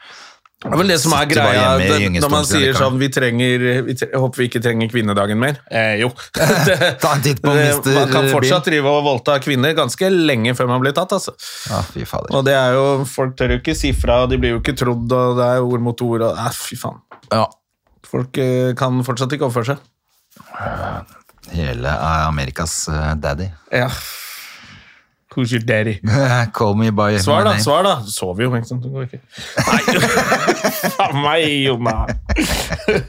[SPEAKER 1] Det er vel det som er
[SPEAKER 2] Sitter
[SPEAKER 1] greia
[SPEAKER 2] bare hjemme i
[SPEAKER 1] den, når man
[SPEAKER 2] gyngestolen,
[SPEAKER 1] sier
[SPEAKER 2] kan.
[SPEAKER 1] sånn vi trenger, vi tre, Jeg håper vi ikke trenger kvinnedagen mer. Eh, jo. Det-
[SPEAKER 2] Ta en titt på
[SPEAKER 1] det-
[SPEAKER 2] Mr.
[SPEAKER 1] Man kan
[SPEAKER 2] Bill.
[SPEAKER 1] fortsatt drive og voldta kvinner ganske lenge før man blir tatt, altså.
[SPEAKER 2] Ja, fy fader.
[SPEAKER 1] Og det er jo Folk tør jo ikke si fra, og de blir jo ikke trodd, og det er ord mot ord, og eh, fy faen.
[SPEAKER 2] Ja.
[SPEAKER 1] Folk eh, kan fortsatt ikke oppføre seg.
[SPEAKER 2] Hele er Amerikas eh, daddy.
[SPEAKER 1] Ja. Who's your daddy?
[SPEAKER 2] Call me by my
[SPEAKER 1] Svar, da.
[SPEAKER 2] name.
[SPEAKER 1] svar da Du sover jo, ikke sant? Det går ikke. Nei, faen meg, Jonna.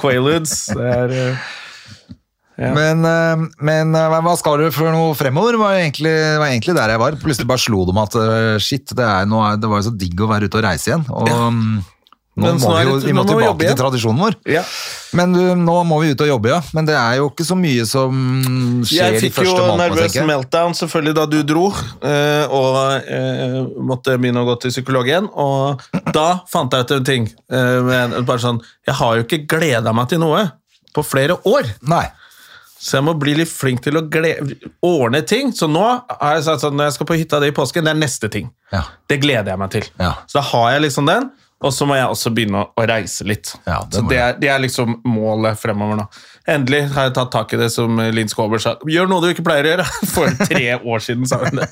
[SPEAKER 1] Quaaludes. Det er eh,
[SPEAKER 2] Men, eh, men eh, hva skal du for noe fremover? Var egentlig, var egentlig der jeg var. Plutselig bare slo det meg at eh, shit, det, er, nå er, det var jo så digg å være ute og reise igjen. Og mm, nå
[SPEAKER 1] Men så
[SPEAKER 2] må
[SPEAKER 1] er
[SPEAKER 2] vi jo
[SPEAKER 1] det-
[SPEAKER 2] vi må
[SPEAKER 1] nå må vi jobbe
[SPEAKER 2] tilbake
[SPEAKER 1] igjen.
[SPEAKER 2] til tradisjonen vår.
[SPEAKER 1] Ja.
[SPEAKER 2] Men du, nå må vi ut og jobbe, ja. Men det er jo ikke så mye som skjer
[SPEAKER 1] Jeg
[SPEAKER 2] de
[SPEAKER 1] fikk jo
[SPEAKER 2] første månedene,
[SPEAKER 1] nervøs
[SPEAKER 2] tenker jeg.
[SPEAKER 1] meltdown selvfølgelig da du dro, eh, og eh, måtte begynne å gå til psykolog igjen. Og da fant jeg ut en ting. eh, men Bare sånn Jeg har jo ikke gleda meg til noe på flere år,
[SPEAKER 2] Nei.
[SPEAKER 1] så jeg må bli litt flink til å gle- ordne ting. Så nå har jeg sagt sånn når jeg skal på hytta di i påsken, det er neste ting.
[SPEAKER 2] Ja.
[SPEAKER 1] Det gleder jeg meg til.
[SPEAKER 2] Ja.
[SPEAKER 1] Så da har jeg liksom den, og så må jeg også begynne å- å reise litt.
[SPEAKER 2] Ja, det
[SPEAKER 1] så
[SPEAKER 2] må
[SPEAKER 1] det er, det er liksom målet fremover nå. Endelig har jeg tatt tak i det som eh, Linn Skåber sa. Gjør noe du ikke pleier å gjøre! For tre år siden sa hun det.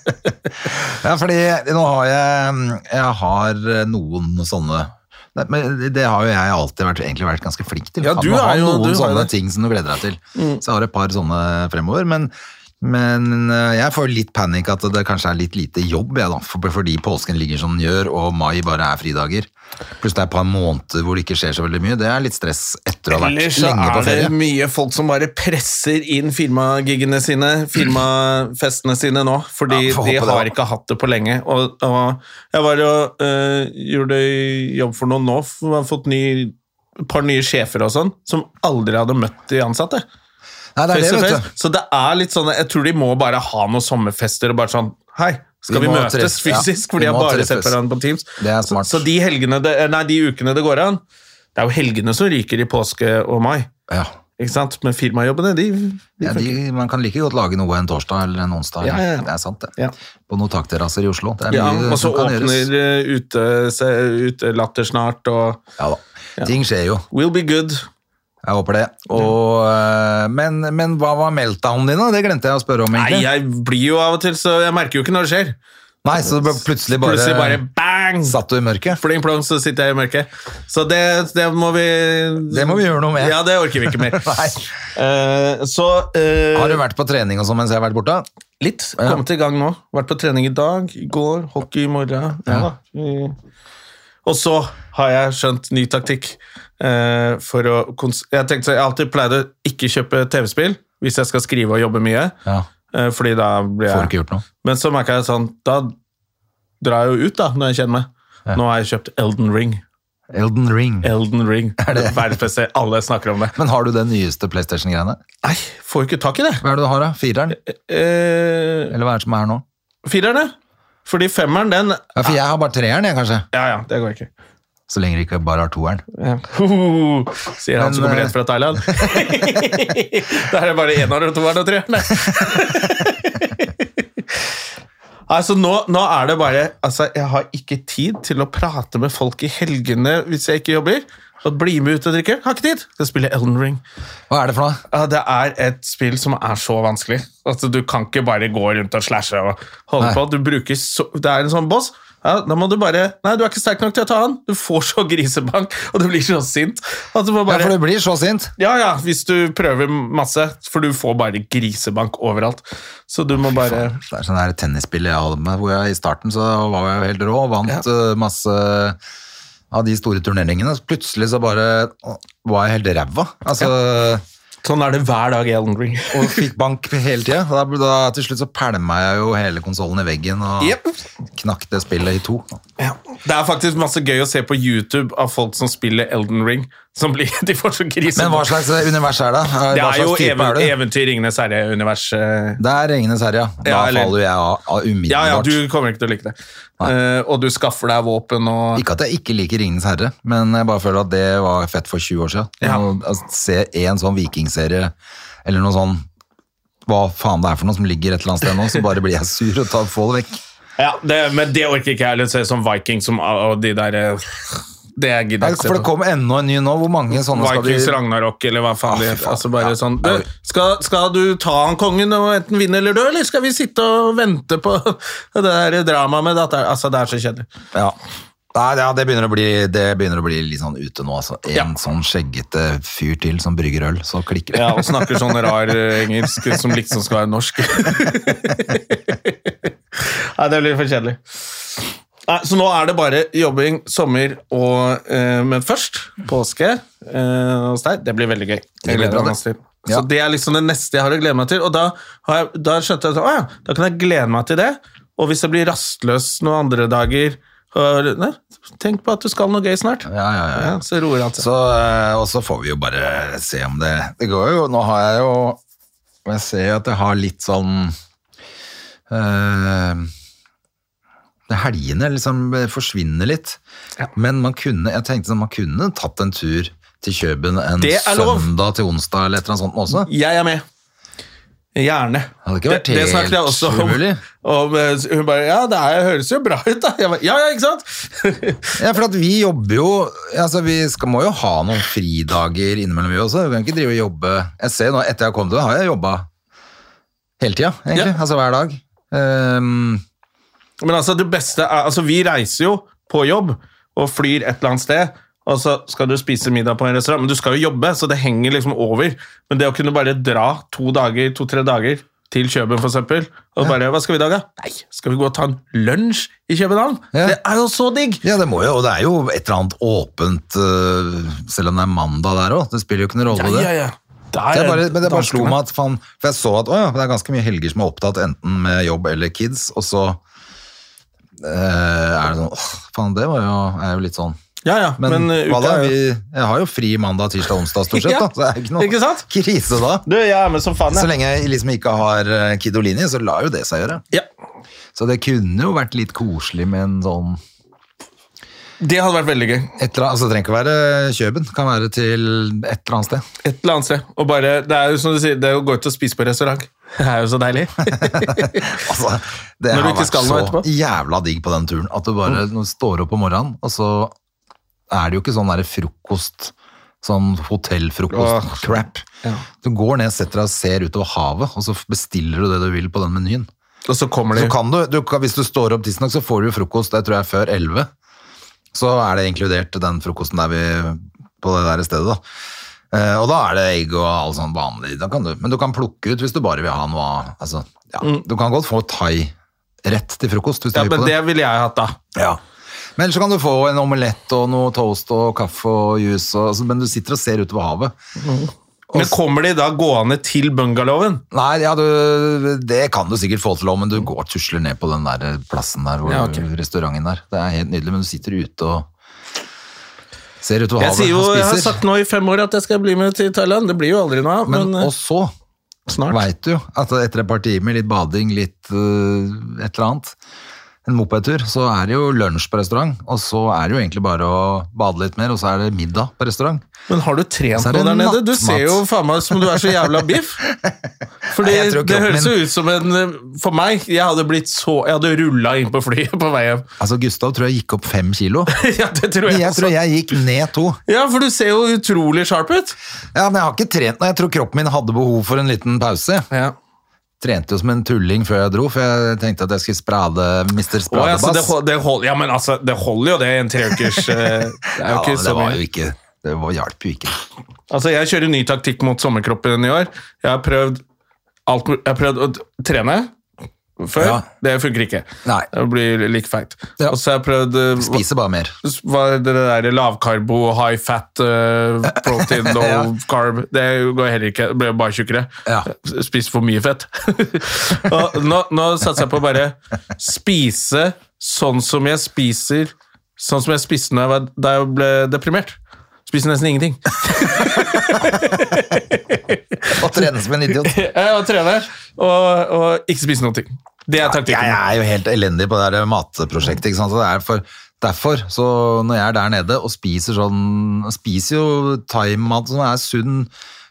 [SPEAKER 2] Ja, fordi nå har jeg, jeg har eh, noen sånne Nei, men det har jo jeg alltid vært, egentlig vært ganske flink til.
[SPEAKER 1] Ja,
[SPEAKER 2] Man
[SPEAKER 1] du
[SPEAKER 2] må ha
[SPEAKER 1] er jo-
[SPEAKER 2] noen
[SPEAKER 1] du har
[SPEAKER 2] sånne
[SPEAKER 1] det.
[SPEAKER 2] ting som du gleder deg til. Så jeg har et par sånne fremover, men, men eh, jeg får litt panikk at det kanskje er litt lite jobb, jeg da, for- fordi påsken ligger som den gjør, og mai bare er fridager. Pluss det er et par måneder hvor det ikke skjer så veldig mye. Det er litt stress etter å ha vært
[SPEAKER 1] Ellers så
[SPEAKER 2] lenge på
[SPEAKER 1] er det
[SPEAKER 2] ferie.
[SPEAKER 1] mye folk som bare presser inn firmagiggene sine, firmafestene sine nå, fordi
[SPEAKER 2] Ja, får
[SPEAKER 1] de
[SPEAKER 2] håpe det,
[SPEAKER 1] har
[SPEAKER 2] da.
[SPEAKER 1] ikke hatt det på lenge. Og, og jeg var jo, eh, gjorde jobb for noen nå, for jeg har fått ny, et par nye sjefer og sånn, som aldri hadde møtt de ansatte.
[SPEAKER 2] Nei, det er
[SPEAKER 1] Face
[SPEAKER 2] det,
[SPEAKER 1] to
[SPEAKER 2] vet
[SPEAKER 1] face.
[SPEAKER 2] du.
[SPEAKER 1] Så det er litt sånn Jeg tror de må bare ha noen sommerfester og bare sånn Hei,
[SPEAKER 2] Vi
[SPEAKER 1] skal vi,
[SPEAKER 2] må
[SPEAKER 1] møtes
[SPEAKER 2] treffes, ja.
[SPEAKER 1] fysisk? For
[SPEAKER 2] Vi
[SPEAKER 1] de har
[SPEAKER 2] må
[SPEAKER 1] bare
[SPEAKER 2] treffes.
[SPEAKER 1] sett hverandre på Teams.
[SPEAKER 2] Det er smart.
[SPEAKER 1] Så, så de, helgene det, eh, nei, de ukene det går an Det er jo helgene som ryker i påske og mai.
[SPEAKER 2] Ja.
[SPEAKER 1] Ikke sant? Men firmajobbene, de, de
[SPEAKER 2] Ja, de, man kan like godt lage noe en torsdag eller en onsdag.
[SPEAKER 1] Ja, ja, ja.
[SPEAKER 2] Det er sant, det.
[SPEAKER 1] Ja.
[SPEAKER 2] På noen takterrasser i Oslo. Det er
[SPEAKER 1] ja,
[SPEAKER 2] mye
[SPEAKER 1] Og så
[SPEAKER 2] som kan gjøres.
[SPEAKER 1] åpner eh, ute, se, ute latter snart, og
[SPEAKER 2] Ja da. Ting skjer jo.
[SPEAKER 1] We'll be good.
[SPEAKER 2] Jeg håper det. Og, eh, men, men hva var meltdownen din, da? Det glemte jeg å spørre om,
[SPEAKER 1] Nei,
[SPEAKER 2] egentlig.
[SPEAKER 1] jeg blir jo av og til, så jeg merker jo ikke når det skjer.
[SPEAKER 2] Nei, så det ble plutselig bare,
[SPEAKER 1] Plutselig bare bang!
[SPEAKER 2] satt du i mørket?
[SPEAKER 1] Fling plong, så sitter jeg i mørket. Så det, det må vi
[SPEAKER 2] Det må vi gjøre noe med.
[SPEAKER 1] Ja, det orker vi ikke mer.
[SPEAKER 2] Nei.
[SPEAKER 1] Eh, så eh,
[SPEAKER 2] Har du vært på trening og sånn mens jeg har vært borte?
[SPEAKER 1] litt.
[SPEAKER 2] Ja.
[SPEAKER 1] Kommet i gang nå. Vært på trening i dag, i går, hockey i morgen. Ja, da. Eh, Og så har jeg skjønt ny taktikk. eh, for å kons jeg tenkte så jeg alltid pleide å ikke kjøpe TV-spill hvis jeg skal skrive og jobbe mye.
[SPEAKER 2] Ja.
[SPEAKER 1] eh, fordi da blir
[SPEAKER 2] Får
[SPEAKER 1] jeg
[SPEAKER 2] ikke gjort noe.
[SPEAKER 1] Men så merka jeg sånn Da drar jeg jo ut, da, når jeg kjenner meg. Nå har jeg kjøpt Elden Ring.
[SPEAKER 2] Elden Ring.
[SPEAKER 1] Elden Ring. Verdens beste. Alle snakker om det.
[SPEAKER 2] Men har du det nyeste PlayStation-greiene?
[SPEAKER 1] Nei, får jo ikke tak i det.
[SPEAKER 2] Hva er det du har, da? Fireren?
[SPEAKER 1] Eh,
[SPEAKER 2] Eller hva er det som er nå?
[SPEAKER 1] fireren, ja. Fordi femmeren, den
[SPEAKER 2] Ja, for jeg har bare treeren, jeg, kanskje.
[SPEAKER 1] Ja, ja, det går ikke.
[SPEAKER 2] Så lenge jeg ikke bare har toeren.
[SPEAKER 1] Ja. Hoho, sier han som
[SPEAKER 2] Men,
[SPEAKER 1] kommer
[SPEAKER 2] eh,
[SPEAKER 1] rett fra Thailand. da er det bare eneren og toeren og treeren. Altså, nå, nå er det bare altså, Jeg har ikke tid til å prate med folk i helgene hvis jeg ikke jobber. Og bli med ut og drikke. Har ikke tid. Skal spille Elden Ring.
[SPEAKER 2] Hva er det for noe?
[SPEAKER 1] Ja, det er et spill som er så vanskelig. Altså, du kan ikke bare gå rundt og slashe og holde
[SPEAKER 2] Nei.
[SPEAKER 1] på. Du bruker så, det er en sånn boss. Ja, da må du bare Nei, du er ikke sterk nok til å ta han. Du får så grisebank, og du blir så sint. At du må
[SPEAKER 2] Ja,
[SPEAKER 1] bare,
[SPEAKER 2] for du blir så sint.
[SPEAKER 1] ja, ja, hvis du prøver masse. For du får bare grisebank overalt. Så du må bare
[SPEAKER 2] Det er sånn der tennisspill jeg hadde med, hvor jeg i starten så var jeg jo helt rå, vant eh, masse av de store turneringene. Så plutselig så bare å, var jeg helt ræva. Altså,
[SPEAKER 1] Sånn er det hver dag i Elden Ring.
[SPEAKER 2] Og fikk bank hele tida. Da, da, til slutt så pælma jeg jo hele konsollen i veggen og
[SPEAKER 1] Jep.
[SPEAKER 2] knakk det spillet i to.
[SPEAKER 1] Ja. Det er faktisk masse gøy å se på YouTube av folk som spiller Elden Ring. Som blir, de får så grisebank.
[SPEAKER 2] Men hva slags eh, univers er det? Hva
[SPEAKER 1] det er jo
[SPEAKER 2] slags type
[SPEAKER 1] even,
[SPEAKER 2] er du?
[SPEAKER 1] eventyr, Ringenes herre-univers. eh,
[SPEAKER 2] Det er Ringenes herre, ja. Da
[SPEAKER 1] Ja, eller-
[SPEAKER 2] faller jo jeg av, av umiddelbart.
[SPEAKER 1] Ja, ja, du kommer ikke til å like det. Eh, og du skaffer deg våpen og
[SPEAKER 2] Ikke at jeg ikke liker Ringenes herre, men jeg bare føler at det var fett for 20 år siden.
[SPEAKER 1] Ja.
[SPEAKER 2] Å altså, se en sånn vikingserie, eller noe sånn hva faen det er for noe som ligger et eller annet sted nå, så bare blir jeg sur og tar, får det vekk.
[SPEAKER 1] Ja, det, Men det orker ikke jeg heller. Se som Vikings som, og de der eh, Det jeg gidder
[SPEAKER 2] Nei,
[SPEAKER 1] jeg ikke
[SPEAKER 2] For det
[SPEAKER 1] se på.
[SPEAKER 2] kom enda en ny nå, hvor mange sånne skal de
[SPEAKER 1] Vikings, Ragnarok eller hva faen.
[SPEAKER 2] Ah,
[SPEAKER 1] de-
[SPEAKER 2] fy faen.
[SPEAKER 1] altså bare
[SPEAKER 2] Ja.
[SPEAKER 1] sånn du, skal, skal du ta han kongen og enten vinne eller dø, eller skal vi sitte og vente på det der dramaet med datteren? Altså, det er så kjedelig.
[SPEAKER 2] ja. Nei, ja, det begynner, å bli, det begynner å bli litt sånn ute nå, altså. En
[SPEAKER 1] Ja.
[SPEAKER 2] sånn skjeggete fyr til som brygger øl, så klikker det.
[SPEAKER 1] Ja, Og snakker sånn rar eh, engelsk som liksom skal være norsk. Nei, det blir for kjedelig. Nei, så nå er det bare jobbing, sommer og eh, Men først påske eh, hos deg. Det blir veldig gøy.
[SPEAKER 2] Det blir
[SPEAKER 1] Jeg gleder
[SPEAKER 2] bra,
[SPEAKER 1] meg
[SPEAKER 2] det.
[SPEAKER 1] masse til.
[SPEAKER 2] Ja.
[SPEAKER 1] Så det er liksom det neste jeg har å glede meg til. Og da, har jeg, da skjønte jeg at å ja, da kan jeg glede meg til det. Og hvis jeg blir rastløs noen andre dager og, nei, Tenk på at du skal noe gøy snart.
[SPEAKER 2] Ja, ja, ja.
[SPEAKER 1] Ja, så roer alt seg.
[SPEAKER 2] Så, eh, og så får vi jo bare se om det Det går jo, nå har jeg jo Jeg ser jo at jeg har litt sånn eh, det Helgene liksom forsvinner litt. Men man kunne jeg tenkte sånn, man kunne tatt en tur til Kjøben en
[SPEAKER 1] Det er lov.
[SPEAKER 2] søndag til onsdag eller et eller annet sånt også.
[SPEAKER 1] Jeg er med. Gjerne.
[SPEAKER 2] Hadde ikke vært
[SPEAKER 1] det snakket jeg
[SPEAKER 2] helt
[SPEAKER 1] også om.
[SPEAKER 2] umulig.
[SPEAKER 1] om eh, hun bare Ja, det her høres jo bra ut, da. Jeg bare, ja, ja, ikke sant?
[SPEAKER 2] Ja, for at vi jobber jo altså Vi skal, må jo ha noen fridager innimellom, vi også. Vi kan ikke drive og jobbe Jeg ser jo nå, etter jeg kom til det, har jeg jobba hele tida, egentlig.
[SPEAKER 1] Ja.
[SPEAKER 2] Altså hver dag. Ehm,
[SPEAKER 1] Men altså, det beste er Altså, vi reiser jo på jobb og flyr et eller annet sted. Og så skal du spise middag på en restaurant, men du skal jo jobbe, så det henger liksom over. Men det å kunne bare dra to dager, to-tre dager til Kjøben, for eksempel, og bare Hva skal vi i dag, da? Nei, skal vi gå og ta en lunsj i København?
[SPEAKER 2] Ja.
[SPEAKER 1] Det er jo så digg!
[SPEAKER 2] ja, det må jo, og det er jo et eller annet åpent, øh, selv om det er mandag der òg. Det spiller jo ikke noen rolle, det.
[SPEAKER 1] ja.
[SPEAKER 2] Det er bare, men det bare slo meg at faen, For jeg så at å ja, det er ganske mye helger som er opptatt enten med jobb eller kids, og så eh, er det sånn åh, Faen, det var jo, er jo litt sånn
[SPEAKER 1] Ja, ja, men,
[SPEAKER 2] Men,
[SPEAKER 1] eh,
[SPEAKER 2] hva
[SPEAKER 1] uka
[SPEAKER 2] da?
[SPEAKER 1] er jo-
[SPEAKER 2] Vi, jeg har jo fri mandag, tirsdag, onsdag stort sett,
[SPEAKER 1] Ja,
[SPEAKER 2] da. Så det er ikke noe
[SPEAKER 1] ikke sant?
[SPEAKER 2] krise da.
[SPEAKER 1] Du, jeg er med som faen,
[SPEAKER 2] Så
[SPEAKER 1] jeg.
[SPEAKER 2] lenge jeg liksom ikke har eh, Kidolini, så lar jo det seg gjøre.
[SPEAKER 1] Ja.
[SPEAKER 2] Så det kunne jo vært litt koselig med en sånn
[SPEAKER 1] Det hadde vært veldig gøy.
[SPEAKER 2] et eller annet, altså Det trenger ikke være Kjøben, det kan være til et eller annet sted.
[SPEAKER 1] Et eller annet sted. Og bare, det er jo som du sier, det er å gå ut og spise på restaurant. Det er jo så deilig.
[SPEAKER 2] Altså, det
[SPEAKER 1] Når du
[SPEAKER 2] har
[SPEAKER 1] ikke
[SPEAKER 2] vært så
[SPEAKER 1] skal noe etterpå. Mm.
[SPEAKER 2] jævla digg på den turen at du bare når du står opp om morgenen, og så er det jo ikke sånn der frokost Sånn hotellfrokost-crap. Du går ned, setter deg og ser utover havet, og så bestiller du det du vil på den menyen.
[SPEAKER 1] Og så kommer
[SPEAKER 2] Så
[SPEAKER 1] det
[SPEAKER 2] kan du, du kan, Hvis du står opp tidsnok, så får du jo frokost det tror jeg er før 11. Så er det inkludert den frokosten der vi, på det der stedet. da. Eh, og da er det egg og all sånn vanlig. Da kan du, men du kan plukke ut hvis du bare vil ha noe av- altså, ja, Du kan godt få thai rett til frokost. hvis du
[SPEAKER 1] Mm. ja,
[SPEAKER 2] vil
[SPEAKER 1] Men
[SPEAKER 2] på
[SPEAKER 1] det
[SPEAKER 2] det.
[SPEAKER 1] ville jeg hatt, da.
[SPEAKER 2] Ja. Men ellers så kan du få en omelett og noe toast og kaffe og juice, og, altså, men du sitter og ser utover havet.
[SPEAKER 1] Men kommer de da gående til bungalowen?
[SPEAKER 2] Nei, ja, du, det kan du sikkert få til òg, men du går og tusler ned på den der plassen der, hvor,
[SPEAKER 1] Ja, ok.
[SPEAKER 2] restauranten der. Det er helt nydelig, men du sitter ute og ser utover
[SPEAKER 1] Jeg,
[SPEAKER 2] havet
[SPEAKER 1] sier jo,
[SPEAKER 2] og
[SPEAKER 1] jeg har
[SPEAKER 2] spiser.
[SPEAKER 1] sagt nå i fem år at jeg skal bli med til Thailand. Det blir jo aldri noe av, men,
[SPEAKER 2] men,
[SPEAKER 1] eh,
[SPEAKER 2] og så
[SPEAKER 1] snart.
[SPEAKER 2] veit du jo at etter et par timer, litt bading, litt eh, et eller annet, en mopedtur, så er det jo lunsj på restaurant, og så er det jo egentlig bare å bade litt mer, og så er det middag på restaurant.
[SPEAKER 1] Men har du trent
[SPEAKER 2] Så er
[SPEAKER 1] noe
[SPEAKER 2] det
[SPEAKER 1] der nede? Du
[SPEAKER 2] nattmat.
[SPEAKER 1] ser jo faen meg ut som du er så jævla biff.
[SPEAKER 2] Nei,
[SPEAKER 1] Fordi
[SPEAKER 2] jeg tror
[SPEAKER 1] det
[SPEAKER 2] kroppen
[SPEAKER 1] høres jo
[SPEAKER 2] min-
[SPEAKER 1] ut som en eh, For meg, jeg hadde blitt så Jeg hadde rulla inn på flyet på vei hjem.
[SPEAKER 2] Altså, Gustav tror jeg gikk opp fem kilo.
[SPEAKER 1] ja, det tror jeg,
[SPEAKER 2] Jeg
[SPEAKER 1] også.
[SPEAKER 2] tror jeg gikk ned to.
[SPEAKER 1] Ja, for du ser jo utrolig sharp ut.
[SPEAKER 2] Ja, men jeg har ikke trent nå. Jeg tror kroppen min hadde behov for en liten pause.
[SPEAKER 1] Ja.
[SPEAKER 2] Trente jo som en tulling før jeg dro, for jeg tenkte at jeg skulle sprade Mr.
[SPEAKER 1] Å, ja,
[SPEAKER 2] Spradebass.
[SPEAKER 1] så det, hol- det hold, ja, men altså, det holder jo det i en treukers eh, Det er
[SPEAKER 2] Ja,
[SPEAKER 1] jo ikke
[SPEAKER 2] men
[SPEAKER 1] så
[SPEAKER 2] det var
[SPEAKER 1] mye.
[SPEAKER 2] jo ikke Det var, hjalp jo ikke.
[SPEAKER 1] Altså, jeg kjører ny taktikk mot sommerkroppen i år. Jeg har prøvd, alt, jeg har prøvd å t- trene før.
[SPEAKER 2] Ja.
[SPEAKER 1] Det funker ikke.
[SPEAKER 2] Nei.
[SPEAKER 1] Det blir like feit.
[SPEAKER 2] Ja.
[SPEAKER 1] Og så har jeg prøvd eh,
[SPEAKER 2] Spiser bare mer.
[SPEAKER 1] Hva er det der lavkarbo, high fat, eh, protein, low carb Det går heller ikke. Det blir bare tjukkere.
[SPEAKER 2] Ja.
[SPEAKER 1] Spiser for mye fett. og nå, nå satser jeg på å bare spise sånn som jeg spiser Sånn som jeg spiste når jeg var, da jeg ble deprimert. Spiser nesten ingenting.
[SPEAKER 2] Og trene som en idiot.
[SPEAKER 1] Jeg var trener og, og ikke spise noen ting. Det er taktikken.
[SPEAKER 2] Jeg er jo helt elendig på det der matprosjektet. Ikke sant? Så det er for, derfor, så når jeg er der nede og spiser sånn Spiser jo thaimat som er sunn,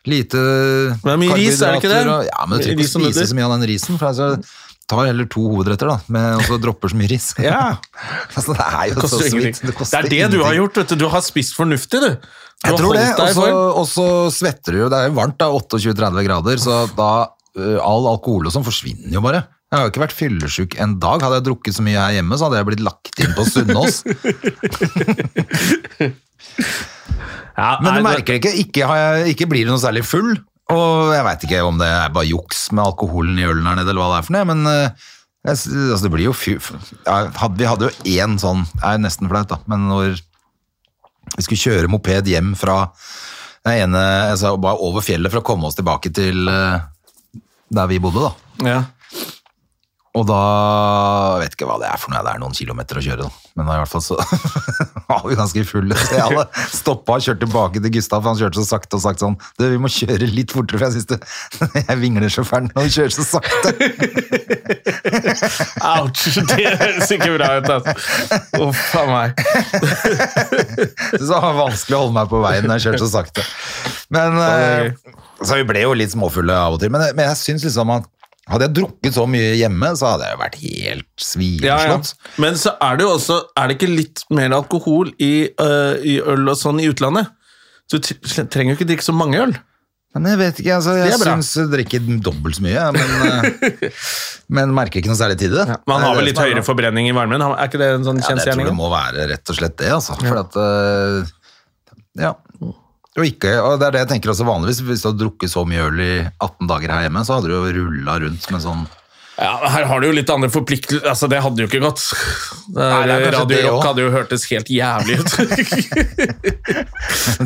[SPEAKER 2] lite
[SPEAKER 1] Men det er mye ris, er det ikke det?
[SPEAKER 2] karbohydrater og- Ja, men du trenger
[SPEAKER 1] Ris
[SPEAKER 2] ikke
[SPEAKER 1] som
[SPEAKER 2] spise
[SPEAKER 1] nøtter.
[SPEAKER 2] så mye av den risen. For altså, tar heller to hovedretter, da, med, og så dropper så mye ris.
[SPEAKER 1] Ja.
[SPEAKER 2] altså, det er jo så
[SPEAKER 1] Det koster ingenting.
[SPEAKER 2] sweet.
[SPEAKER 1] Det er det du har gjort. vet Du Du har spist fornuftig, du. du
[SPEAKER 2] Jeg
[SPEAKER 1] har
[SPEAKER 2] tror det,
[SPEAKER 1] holdt deg i
[SPEAKER 2] og så,
[SPEAKER 1] form.
[SPEAKER 2] og så svetter du jo. Det er jo varmt, da, 28-30 grader, så da ø, all alkohol og sånn forsvinner jo bare. Jeg har jo ikke vært fyllesyk en dag. Hadde jeg drukket så mye her hjemme, så hadde jeg blitt lagt inn på Sunnaas.
[SPEAKER 1] Ja,
[SPEAKER 2] Men du
[SPEAKER 1] nei, det-
[SPEAKER 2] merker det ikke. Ikke, har jeg, ikke blir du noe særlig full. Og jeg veit ikke om det er bare juks med alkoholen i ølen her nede, eller hva det er for noe, men ø, jeg, s- altså, det blir jo fy... f- Ja, hadde, vi hadde jo én sånn, det er nesten flaut, da, men når vi skulle kjøre moped hjem fra den ene, altså bare over fjellet for å komme oss tilbake til eh, der vi bodde da.
[SPEAKER 1] ja.
[SPEAKER 2] Og da, jeg vet ikke hva det er for noe, det er noen kilometer å kjøre da. Men da i hvert fall så var vi ganske fulle. Så jeg hadde stoppet og kjørt tilbake til Gustav, for han kjørte så sakte og sagt sånn, du, vi må kjøre litt fortere, for jeg synes det, jeg vingler sjåføren når vi kjører så sakte.
[SPEAKER 1] Ouch! Det høres ikke bra ut, altså. Uff a meg.
[SPEAKER 2] Så det var vanskelig å holde meg på veien når jeg kjørte så sakte. Men,
[SPEAKER 1] det
[SPEAKER 2] eh, så vi ble jo litt småfulle av og til, men, men jeg synes liksom at hadde jeg drukket så mye hjemme, så hadde jeg jo vært helt
[SPEAKER 1] Ja, ja.
[SPEAKER 2] svineslått.
[SPEAKER 1] Men så er det jo også Er det ikke litt mer alkohol i, øh, i øl og sånn i utlandet? Du t- trenger jo ikke drikke så mange øl.
[SPEAKER 2] Men jeg vet ikke, altså,
[SPEAKER 1] Det
[SPEAKER 2] jeg
[SPEAKER 1] er bra.
[SPEAKER 2] syns jeg drikker dobbelt så mye, jeg, men, eh, men merker ikke noe særlig til det.
[SPEAKER 1] Man har
[SPEAKER 2] Det er
[SPEAKER 1] vel
[SPEAKER 2] det
[SPEAKER 1] litt
[SPEAKER 2] som er
[SPEAKER 1] høyere
[SPEAKER 2] bra.
[SPEAKER 1] forbrenning i varmen? Er ikke det en sånn
[SPEAKER 2] Ja, men jeg tror det
[SPEAKER 1] kjensgjerning?
[SPEAKER 2] må være rett og slett det, altså. For at, eh, ja. Og, ikke, og det er det jeg tenker også vanligvis, hvis du har drukket så mye øl i 18 dager her hjemme, så hadde du jo rulla rundt med sånn
[SPEAKER 1] Ja, her har du jo litt andre forpliktelser Altså, det hadde jo ikke gått. Det
[SPEAKER 2] Nei, det er
[SPEAKER 1] er-
[SPEAKER 2] kanskje
[SPEAKER 1] Radio
[SPEAKER 2] det
[SPEAKER 1] Rock
[SPEAKER 2] også.
[SPEAKER 1] hadde jo hørtes helt jævlig ut.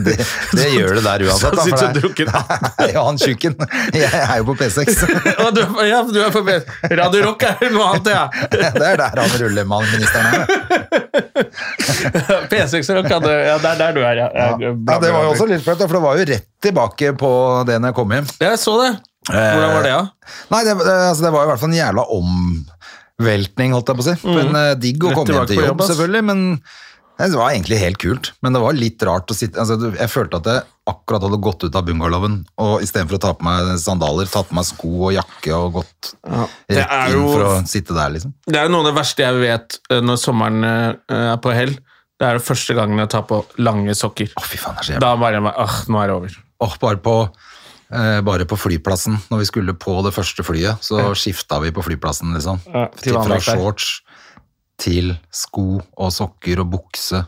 [SPEAKER 2] Det, det gjør det der uansett.
[SPEAKER 1] Så
[SPEAKER 2] Da, for
[SPEAKER 1] sitter du og
[SPEAKER 2] det,
[SPEAKER 1] drukker.
[SPEAKER 2] Nei, ja, han tjukken. Jeg er jo på P6.
[SPEAKER 1] Og du, ja, du er på B. Radio Rock er noe annet, ja.
[SPEAKER 2] Det er der han rullemann-ministeren er.
[SPEAKER 1] P6 Rock hadde Ja, det er der du er, ja. Jeg
[SPEAKER 2] Ja, det var jo også litt flaut, da, for det var jo rett tilbake på det når jeg kom hjem.
[SPEAKER 1] Jeg så det. Hvordan var det, da?
[SPEAKER 2] Nei, det, det, altså, det var jo i hvert fall en jævla omveltning, holdt jeg på å si. Men eh, digg å
[SPEAKER 1] Mm. Rett
[SPEAKER 2] komme hjem
[SPEAKER 1] tilbake
[SPEAKER 2] til
[SPEAKER 1] på
[SPEAKER 2] jobb,
[SPEAKER 1] jobb, ass.
[SPEAKER 2] selvfølgelig. Men det var egentlig helt kult. Men det var litt rart å sitte altså, du- Jeg følte at jeg akkurat hadde gått ut av bungalowen, og istedenfor å ta på meg sandaler, tatt på meg sko og jakke og gått
[SPEAKER 1] Det
[SPEAKER 2] rett
[SPEAKER 1] er
[SPEAKER 2] inn
[SPEAKER 1] jo-
[SPEAKER 2] for å sitte der, liksom.
[SPEAKER 1] Det er jo noe av det verste jeg vet eh, når sommeren eh, er på hell. Det er det første gangen jeg tar på lange sokker.
[SPEAKER 2] Å, fy faen, det er så jævlig.
[SPEAKER 1] Da bare Åh, nå er det over.
[SPEAKER 2] Åh, bare på eh, bare på flyplassen, når vi skulle på det første flyet, så skifta vi på flyplassen, liksom.
[SPEAKER 1] Ja, til
[SPEAKER 2] til fra
[SPEAKER 1] vanlig klær.
[SPEAKER 2] shorts til sko og sokker og bukse.